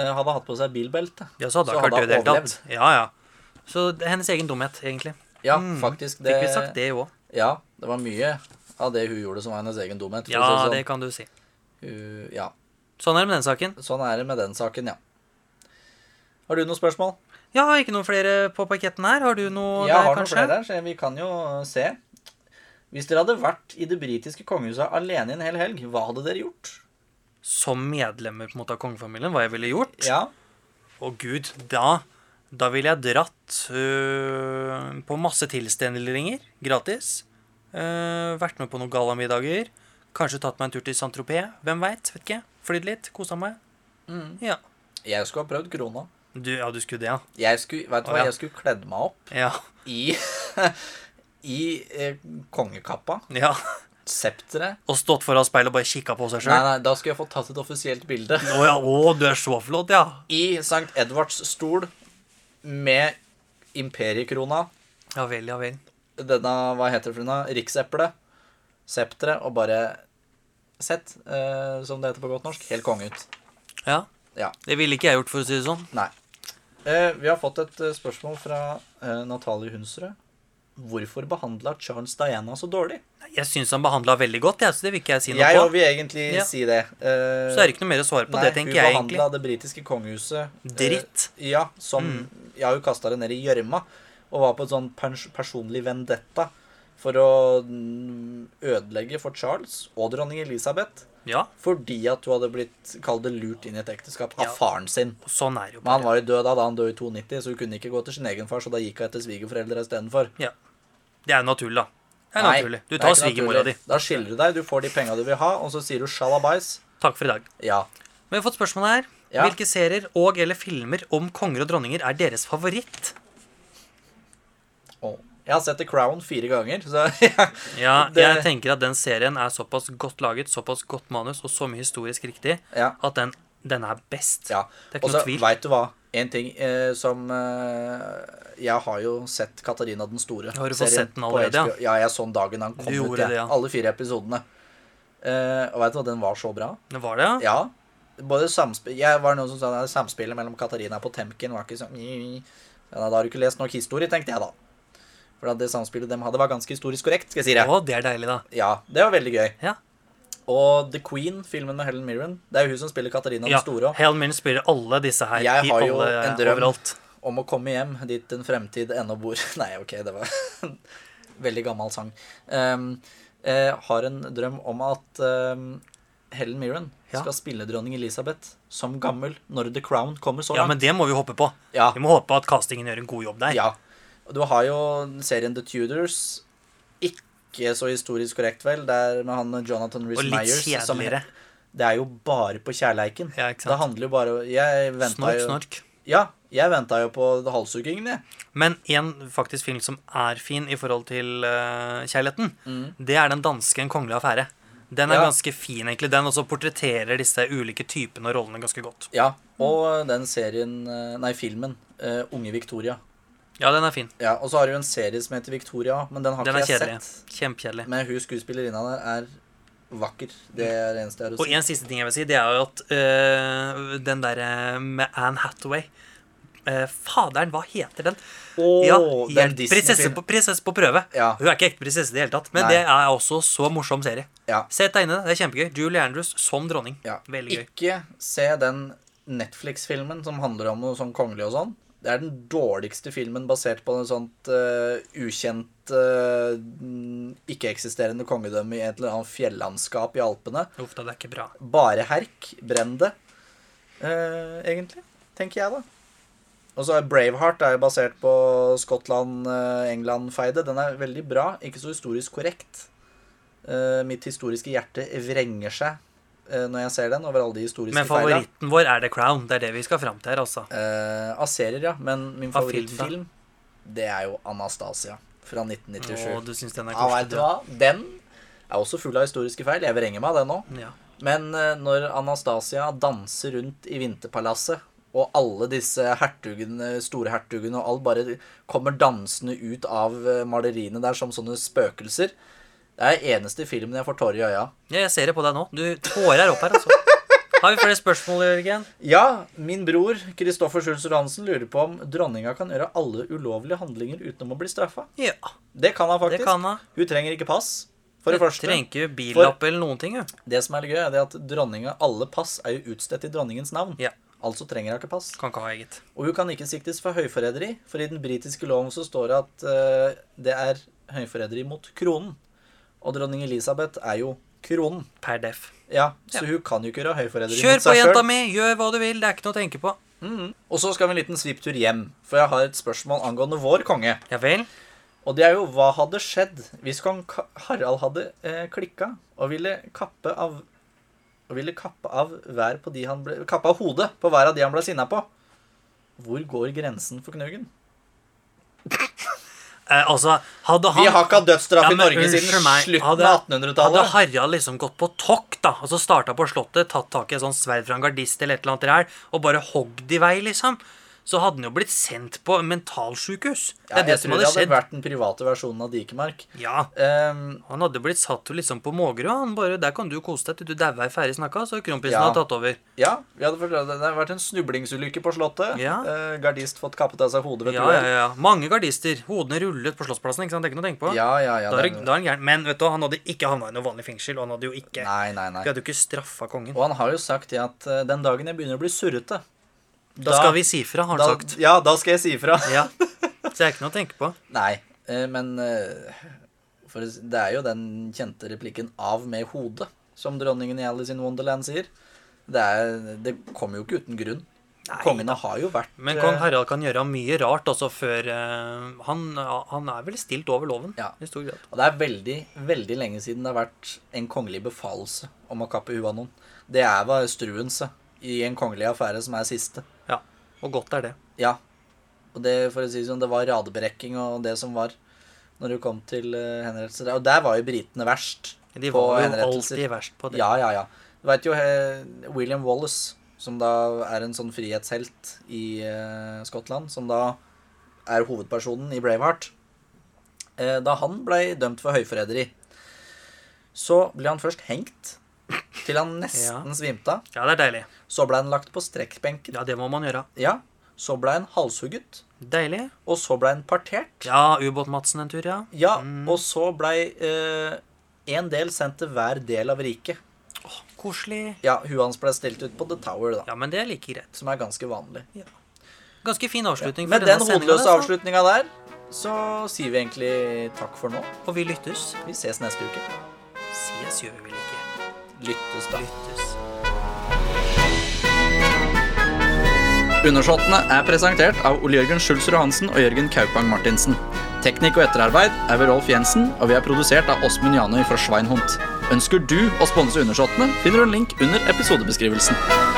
Speaker 1: Eh, hadde hatt på seg bilbelte.
Speaker 2: Ja, så hadde
Speaker 1: Så
Speaker 2: hun klart det i
Speaker 1: hadde
Speaker 2: det
Speaker 1: hun
Speaker 2: hele tatt. Ja, ja. Så det er hennes egen dumhet, egentlig.
Speaker 1: Ja,
Speaker 2: Mm.
Speaker 1: faktisk. Det,
Speaker 2: Fikk vi sagt det òg?
Speaker 1: Ja, det var mye av det hun gjorde som var hennes egen dumhet. for
Speaker 2: Ja,
Speaker 1: å si
Speaker 2: det
Speaker 1: det sånn.
Speaker 2: kan du si.
Speaker 1: Hun- ja,
Speaker 2: Sånn er det med den saken.
Speaker 1: sånn er det med den saken, ja. Har du noen spørsmål?
Speaker 2: Ja, ikke noen flere på paketten her? Har du noe
Speaker 1: jeg
Speaker 2: der,
Speaker 1: har noen
Speaker 2: kanskje?
Speaker 1: flere der, så vi kan jo øh, se. Hvis dere hadde vært i det britiske kongehuset alene en hel helg, hva hadde dere gjort?
Speaker 2: Som medlemmer på en måte av kongefamilien, hva jeg ville gjort?
Speaker 1: Ja,
Speaker 2: Å gud, da Da ville jeg dratt øh, på masse tilstelninger gratis. Øh, vært med på noen gallamiddager. Kanskje tatt meg en tur til Saint-Tropez. Hvem veit? Vet ikke. Flydd litt, kosa meg. Ja.
Speaker 1: jeg skulle ha prøvd krona.
Speaker 2: Du, ja, du skulle det, ja.
Speaker 1: Jeg skulle, vet du
Speaker 2: Å,
Speaker 1: hva,
Speaker 2: ja.
Speaker 1: jeg skulle kledd meg opp
Speaker 2: Ja.
Speaker 1: i, i eh, kongekappa,
Speaker 2: ja.
Speaker 1: septeret.
Speaker 2: Og stått foran speilet og bare kikka på seg
Speaker 1: Nei,
Speaker 2: sjøl.
Speaker 1: nei, da skulle jeg få tatt et offisielt bilde.
Speaker 2: Å, ja. å, du er så flott, ja.
Speaker 1: I St. Edvards stol med imperiekrona,
Speaker 2: Ja vel, ja vel.
Speaker 1: denne, hva heter det for noe, rikseplet, septeret, og bare sett, eh, som det heter på godt norsk, helt konge ut.
Speaker 2: Ja.
Speaker 1: Ja.
Speaker 2: Det ville ikke jeg gjort, for å si det sånn.
Speaker 1: Nei. Eh, vi har fått et eh, spørsmål fra eh, Natalie Hunsrød. Hvorfor behandla Charles Diana så dårlig?
Speaker 2: Jeg syns han behandla veldig godt, jeg, så det vil ikke jeg si noe
Speaker 1: Jeg
Speaker 2: på.
Speaker 1: vil egentlig
Speaker 2: Ja.
Speaker 1: si det. Eh,
Speaker 2: Så er det ikke noe mer å svare på.
Speaker 1: nei,
Speaker 2: det tenker jeg
Speaker 1: Hun
Speaker 2: egentlig.
Speaker 1: behandla det britiske kongehuset eh,
Speaker 2: Dritt. Mm.
Speaker 1: ja, som Jeg har jo kasta det ned i gjørma og var på en sånn pers personlig vendetta for å mm, ødelegge for Charles og dronning Elisabeth
Speaker 2: Ja,
Speaker 1: fordi at hun hadde blitt kall det lurt inn i et ekteskap av
Speaker 2: Ja.
Speaker 1: faren sin.
Speaker 2: sånn er det jo
Speaker 1: Men han
Speaker 2: bare.
Speaker 1: var jo død da, da han døde i 92, så hun kunne ikke gå til sin egen far, så da gikk hun etter svigerforeldre istedenfor.
Speaker 2: Ja. Det er jo naturlig, da. Det er
Speaker 1: Nei,
Speaker 2: naturlig. Du
Speaker 1: det er
Speaker 2: tar
Speaker 1: ikke
Speaker 2: svigermora
Speaker 1: naturlig.
Speaker 2: di.
Speaker 1: Da skiller du deg, du får de penga du vil ha, og så sier du sjalabais.
Speaker 2: Takk for i dag.
Speaker 1: Ja.
Speaker 2: Men vi har fått spørsmål her.
Speaker 1: Ja.
Speaker 2: Hvilke serier og eller filmer om konger og dronninger er deres favoritt?
Speaker 1: Å. Jeg har sett The Crown fire ganger, så ja.
Speaker 2: Ja,
Speaker 1: Det-
Speaker 2: jeg tenker at den serien er såpass godt laget, såpass godt manus og så mye historisk riktig
Speaker 1: ja.
Speaker 2: at den, den er best.
Speaker 1: ja.
Speaker 2: Det er ikke
Speaker 1: Og så
Speaker 2: noe tvil.
Speaker 1: veit du hva, en ting eh, som eh, Jeg har jo sett Katarina den store.
Speaker 2: Har du fått
Speaker 1: serien
Speaker 2: sett den
Speaker 1: på
Speaker 2: allerede, ja?
Speaker 1: HBO. Ja, jeg så den dagen han kom
Speaker 2: Du
Speaker 1: ut,
Speaker 2: gjorde
Speaker 1: jeg.
Speaker 2: det, ja.
Speaker 1: Alle fire episodene. Eh, og veit du hva, den var så bra.
Speaker 2: Det var det, ja?
Speaker 1: Ja. Både samspill Jeg var noen som sa at samspillet mellom Katarina på Temkin var ikke sånn ja, Da har du ikke lest nok historie, tenkte jeg da. For at det samspillet de hadde, var ganske historisk korrekt. skal jeg si det.
Speaker 2: Å, det er deilig, da.
Speaker 1: Ja, Det var veldig gøy.
Speaker 2: Ja.
Speaker 1: Og The Queen, filmen med Helen Mirren, det er jo hun som spiller Katarina
Speaker 2: Ja,
Speaker 1: den store også,
Speaker 2: Hell Mirren spiller alle disse her.
Speaker 1: Jeg
Speaker 2: i
Speaker 1: har jo
Speaker 2: alle,
Speaker 1: en drøm.
Speaker 2: Overalt.
Speaker 1: om å komme hjem dit en fremtid ennå bor. Nei, ok, det var en veldig gammel sang. Um, eh, har en drøm om at um, Helen Mirren
Speaker 2: Ja.
Speaker 1: skal spille dronning Elisabeth som gammel når The Crown kommer så
Speaker 2: Ja,
Speaker 1: langt.
Speaker 2: men det må vi håpe på.
Speaker 1: Ja,
Speaker 2: Vi må håpe at castingen gjør en god jobb der.
Speaker 1: Ja. Og Du har jo serien The Tudors. Ikke så historisk korrekt, vel. Det er med han Jonathan
Speaker 2: og
Speaker 1: Rhys
Speaker 2: litt
Speaker 1: Meyers. som-
Speaker 2: kjedeligere.
Speaker 1: Det er jo bare på kjærleiken.
Speaker 2: Ja, ikke
Speaker 1: Det
Speaker 2: sant?
Speaker 1: handler jo bare Jeg venta
Speaker 2: Snork,
Speaker 1: jo
Speaker 2: snork.
Speaker 1: Ja, jeg venta jo på halshuggingen, jeg.
Speaker 2: Men en faktisk film som er fin i forhold til eh, kjærligheten, det er den danske En kongelig affære. Den er
Speaker 1: Ja.
Speaker 2: ganske fin, egentlig, den, og så portretterer disse ulike typene og rollene ganske godt.
Speaker 1: Ja. Og den serien eh, Nei, filmen. eh, Unge Victoria.
Speaker 2: Ja, den er fin.
Speaker 1: Ja, Og så har du jo en serie som heter Victoria, men den har
Speaker 2: Den
Speaker 1: ikke
Speaker 2: er
Speaker 1: jeg
Speaker 2: kjedelig.
Speaker 1: sett.
Speaker 2: Kjempekjedelig.
Speaker 1: Men hun skuespillerinna der er vakker. Det er det eneste jeg har å
Speaker 2: Og
Speaker 1: si.
Speaker 2: en siste ting jeg vil si, det er jo at eh, den derre med Anne Hathaway eh, Faderen, hva heter den?
Speaker 1: Åh,
Speaker 2: ja,
Speaker 1: den
Speaker 2: helt prinsesse
Speaker 1: Disney-filmen.
Speaker 2: på, prinsesse på prøve.
Speaker 1: Ja.
Speaker 2: Hun er ikke ekte prinsesse i det hele tatt, men
Speaker 1: Nei.
Speaker 2: det er også så morsom serie.
Speaker 1: Ja.
Speaker 2: Sett deg inn i det. Det er kjempegøy. Julie Andrews som dronning.
Speaker 1: Ja.
Speaker 2: Veldig gøy.
Speaker 1: Ikke se den Netflix-filmen som handler om noe sånn kongelig og sånn. Det er den dårligste filmen basert på noe sånt eh, ukjent, eh, ikke-eksisterende kongedømme i et eller annet fjellandskap i Alpene.
Speaker 2: Uff da, det er ikke bra.
Speaker 1: Bare herk. Brenn det. Eh, egentlig, tenker jeg, da. Og så er Braveheart er jo basert på Skottland-England-feidet. Den er veldig bra, ikke så historisk korrekt. Eh, mitt historiske hjerte vrenger seg eh, når jeg ser den, over alle de historiske
Speaker 2: Men
Speaker 1: feila.
Speaker 2: favoritten vår er The Crown. Det er det vi skal fram til her, altså.
Speaker 1: Eh, av serier, ja. Men min
Speaker 2: Av film, da?
Speaker 1: favorittfilm, det er jo Anastasia fra 1997.
Speaker 2: Og du syns den er
Speaker 1: Ja, vet du
Speaker 2: koselig?
Speaker 1: hva? Den er også full av historiske feil. Jeg vrenger meg av den nå.
Speaker 2: du? Ja.
Speaker 1: Men eh, når Anastasia danser rundt i Vinterpalasset, og alle disse hertugene, storhertugene og alt bare kommer dansende ut av eh, maleriene der som sånne spøkelser Det er eneste filmen jeg får tårer i øya.
Speaker 2: Ja, jeg ser det på deg nå. Du tårer opp her, altså. Har vi flere spørsmål, Jørgen?
Speaker 1: Ja, min bror Kristoffer Schulzer Hansen lurer på om dronninga kan gjøre alle ulovlige handlinger utenom å bli straffa.
Speaker 2: Ja,
Speaker 1: Det kan hun
Speaker 2: det
Speaker 1: faktisk.
Speaker 2: kan jeg.
Speaker 1: Hun trenger ikke pass. For det første,
Speaker 2: Trenger ikke billapp eller noen ting, jo.
Speaker 1: det som er litt gøy, er det at dronninga, alle pass er jo utstedt i dronningens navn.
Speaker 2: Ja.
Speaker 1: Altså trenger hun ikke pass.
Speaker 2: Kan ikke ha eget.
Speaker 1: Og hun kan ikke siktes for høyforræderi, for i den britiske loven så står det at eh, det er høyforræderi mot kronen. Og dronning Elisabeth er jo kronen.
Speaker 2: Per def.
Speaker 1: Ja, så hun kan jo ikke gjøre høyforræderi
Speaker 2: Kjør
Speaker 1: mot
Speaker 2: på,
Speaker 1: seg
Speaker 2: jenta
Speaker 1: sjøl.
Speaker 2: mi! Gjør hva du vil. Det er ikke noe å tenke på.
Speaker 1: Og så skal vi en liten svipptur hjem, for jeg har et spørsmål angående vår konge.
Speaker 2: Ja vel?
Speaker 1: Og det er jo hva hadde skjedd hvis kong Ka- Harald hadde eh, klikka og ville kappe av og ville kappe av, hver på de han ble, kappe av hodet på hver av de han ble sinna på. Hvor går grensen for knugen?
Speaker 2: Eh, altså, hadde han
Speaker 1: Vi har ikke hatt dødsstraff
Speaker 2: Ja,
Speaker 1: i
Speaker 2: men
Speaker 1: Norge
Speaker 2: unnskyld
Speaker 1: siden
Speaker 2: meg,
Speaker 1: slutten
Speaker 2: hadde-
Speaker 1: av
Speaker 2: Hadde
Speaker 1: 1800-tallet.
Speaker 2: Harald liksom gått på tokt, da, og så starta på Slottet, tatt tak i et sånt sverd fra en gardist eller et eller annet der, og bare hogd i vei, liksom, så hadde han jo blitt sendt på mentalsykehus.
Speaker 1: Ja,
Speaker 2: Det er det
Speaker 1: jeg
Speaker 2: som
Speaker 1: tror det
Speaker 2: hadde
Speaker 1: hadde
Speaker 2: skjedd.
Speaker 1: vært den private versjonen av Dikemark.
Speaker 2: Ja,
Speaker 1: Ehm,
Speaker 2: han hadde blitt satt jo liksom på Mågerø, han bare Der kan du kose deg til du dauer ferdig snakka, så kronprinsen
Speaker 1: Ja.
Speaker 2: har tatt over.
Speaker 1: ja, vi hadde forstått det. Det hadde vært en snublingsulykke på Slottet.
Speaker 2: Ja.
Speaker 1: Eh, gardist fått kappet av seg hodet ved et
Speaker 2: Ja, ja,
Speaker 1: uhell.
Speaker 2: ja. Mange gardister. Hodene rullet på Slottsplassen, ikke sant? Det er ikke noe å tenke på.
Speaker 1: Ja, ja, ja.
Speaker 2: da er,
Speaker 1: det-
Speaker 2: det- da er han gæren. Men vet du, hva, han hadde ikke havna i noe vanlig fengsel, og han hadde jo ikke
Speaker 1: Nei, nei, nei.
Speaker 2: Vi hadde jo ikke straffa kongen.
Speaker 1: Og han har jo sagt det at eh, den dagen jeg begynner å bli surrete
Speaker 2: Da skal vi si fra, har
Speaker 1: da,
Speaker 2: han sagt.
Speaker 1: Ja, da skal jeg si ifra.
Speaker 2: Ja. Så det er ikke noe å tenke på.
Speaker 1: Nei, eh, men eh, for å si- det er jo den kjente replikken 'av med hodet', som dronningen i Alice in Wonderland sier. Det, er, det kommer jo ikke uten grunn. Kongene har jo vært
Speaker 2: Men kong
Speaker 1: eh,
Speaker 2: Harald kan gjøre mye rart også før eh, han, han er vel stilt over loven
Speaker 1: Ja.
Speaker 2: i stor grad.
Speaker 1: eh, Og det er veldig, veldig lenge siden det har vært en kongelig befalelse om å kappe huet av noen. Det er hva Struense i en kongelig affære som er siste.
Speaker 2: Ja, Og godt er det.
Speaker 1: Ja. Og det, for å si det sånn, det var radebrekking og det som var når du kom til eh, henrettelser. Og der var jo britene verst.
Speaker 2: De
Speaker 1: på
Speaker 2: var jo
Speaker 1: henrettelser.
Speaker 2: alltid verst på det.
Speaker 1: Ja, ja, ja. Du veit jo eh, William Wallace, som da er en sånn frihetshelt i eh, Skottland, som da er hovedpersonen i Braveheart. Eh, da han blei dømt for høyforræderi, så ble han først hengt til han nesten svimte av.
Speaker 2: Ja, det er deilig.
Speaker 1: Så blei han lagt på strekkbenken. Ja.
Speaker 2: Ja, det må man gjøre.
Speaker 1: Så blei han halshugget.
Speaker 2: Deilig.
Speaker 1: Og så blei han partert.
Speaker 2: Ja, Ubåt-Madsen en tur, ja.
Speaker 1: Ja,
Speaker 2: Mm.
Speaker 1: og så blei eh, en del sendt til hver del av riket.
Speaker 2: Koselig.
Speaker 1: Ja, huet hans blei stilt ut på The Tower, da.
Speaker 2: Ja, men det er like greit.
Speaker 1: som er ganske vanlig.
Speaker 2: Ganske fin avslutning. for
Speaker 1: Med den
Speaker 2: denne sendingen,
Speaker 1: hodeløse
Speaker 2: altså.
Speaker 1: avslutninga der, så sier vi egentlig takk for nå.
Speaker 2: Og vi lyttes.
Speaker 1: Vi ses neste uke.
Speaker 2: Sies gjør vi vel ikke.
Speaker 1: Lyttes da.
Speaker 2: Lyttes.
Speaker 1: Undersåttene er presentert av Ole Jørgen Schulzer Johansen og Jørgen Kaupang Martinsen. Teknikk og etterarbeid er ved Rolf Jensen, og vi er produsert av Åsmund Janøy fra Schweinhund. Ønsker du å sponse Undersåttene, finner du en link under episodebeskrivelsen.